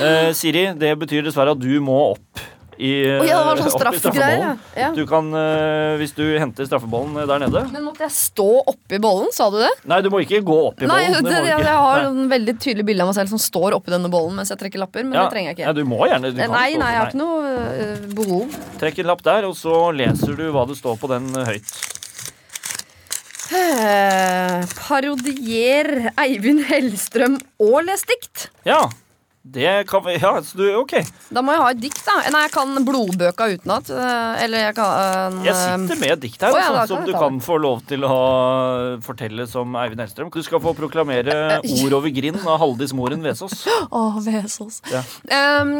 B: Eh, Siri, det betyr dessverre at du må opp i, eh,
D: Å ja, det var sånn
B: opp i
D: straffegreier.
B: straffebollen.
D: ja. Ja.
B: Du kan, eh, hvis du henter straffebollen eh, der nede
D: Men måtte jeg stå oppi bollen, sa du det?
B: Nei, du må ikke gå opp i
D: Nei,
B: bollen.
D: *laughs* det,
B: må du
D: jeg,
B: ikke.
D: jeg har
B: Nei.
D: en veldig tydelig bilde av meg selv som står oppi denne bollen mens jeg trekker lapper, men
B: Ja.
D: det trenger jeg
B: Ja,
D: ikke. Eh,
B: du må gjerne. Du kan
D: Nei,
B: stå
D: nei, jeg har
B: for
D: ikke noe øh, behov.
B: meg. Trekk en lapp der, og så leser du hva det står på den eh, høyt.
D: Eh, Parodier Eivind Hellstrøm og les dikt.
B: Ja. Det kan vi Ja, så du OK.
D: Da må jeg ha et dikt, da. Nei, jeg kan Blodbøka utenat. eh, Eller jeg kan eh,
B: Jeg sitter med et dikt her
D: Å, ja,
B: altså,
D: da kan
B: som
D: jeg
B: du
D: ta
B: kan
D: det.
B: få lov til å eh, fortelle som Eivind Hellstrøm. Du skal få proklamere
D: *laughs* Eh, eh,
B: 'Ord over grind' av Haldis Moren Vesaas.
D: Å, Vesaas.
B: Ja.
D: Um,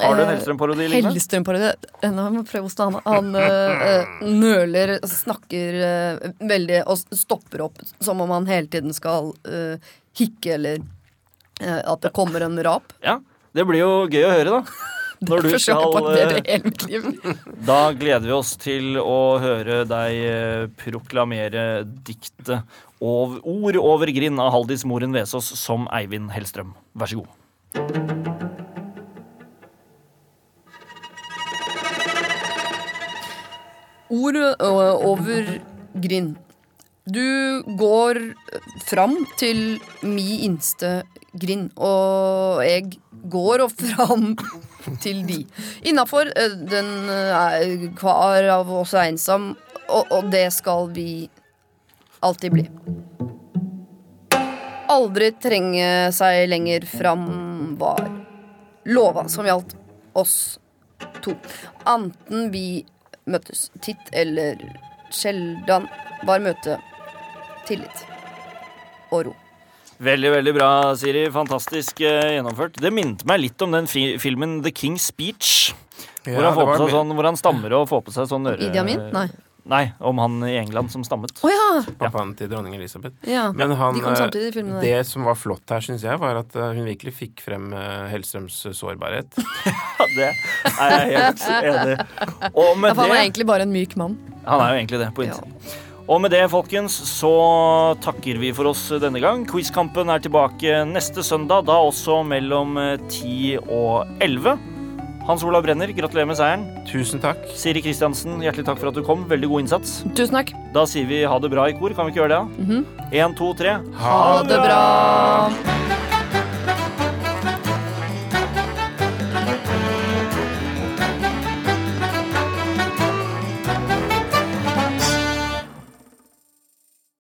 B: Har du en
D: eh,
B: Hellstrøm-parodi liggende?
D: Hellstrøm-parodi. Eh, Nå må jeg prøve å stå han. Han eh, eh, nøler, snakker eh, veldig og stopper opp som om han hele tiden skal eh, hikke eller eh, at det kommer en rap.
B: Ja, det blir jo gøy å høre, da. Når du
D: Derfor skal jeg
B: skal
D: parodiere
B: eh,
D: hele mitt liv.
B: Da gleder vi oss til å høre deg eh, proklamere diktet og Ord over grind av Haldis Moren Vesaas som Eivind Hellstrøm. Vær så god.
D: Ordet ø, over grind. Du går fram til mi innste grind, og jeg går og fram til de. Innafor den ø, er hver av oss er ensom, og, og det skal vi alltid bli. Aldri trenge seg lenger fram var lova som gjaldt oss to. Anten vi møttes titt eller sjeldan, var møtet tillit og ro.
B: Veldig, veldig bra, Siri. Fantastisk eh, gjennomført. Det minnet meg litt om den fi filmen The King's Speech. hvor, han
C: det
B: får på
C: var
B: seg
C: mi-
B: sånn, hvor han stammer og får på seg sånn øre...
D: Idi Amin? Nei.
B: Nei, om han i England som stammet.
D: Å ja!
C: Pappaen til dronning Elisabeth.
D: ja.
C: Men han, eh,
D: De kom samtidig i filmene der.
C: det som var flott her, syns jeg, var at eh, hun virkelig fikk frem eh, Hellstrøms sårbarhet.
B: *laughs* Ja, det er jeg helt enig i. Og
D: Ja,
B: med
D: for han er
B: det
D: egentlig bare en myk mann.
B: Han er jo egentlig det, på
D: Ja.
B: innsiden. Og med det, folkens, så takker vi for oss denne gang. Quizkampen er tilbake neste søndag, da også mellom eh, 10 og 11. Hans Olav Brenner, gratulerer med seieren.
C: Tusen takk.
B: Siri Kristiansen, hjertelig takk for at du kom. Veldig god innsats.
D: Tusen takk.
B: Da sier vi ha det bra i kor. Kan vi ikke gjøre det? da? Én, to, tre.
D: Ha det bra!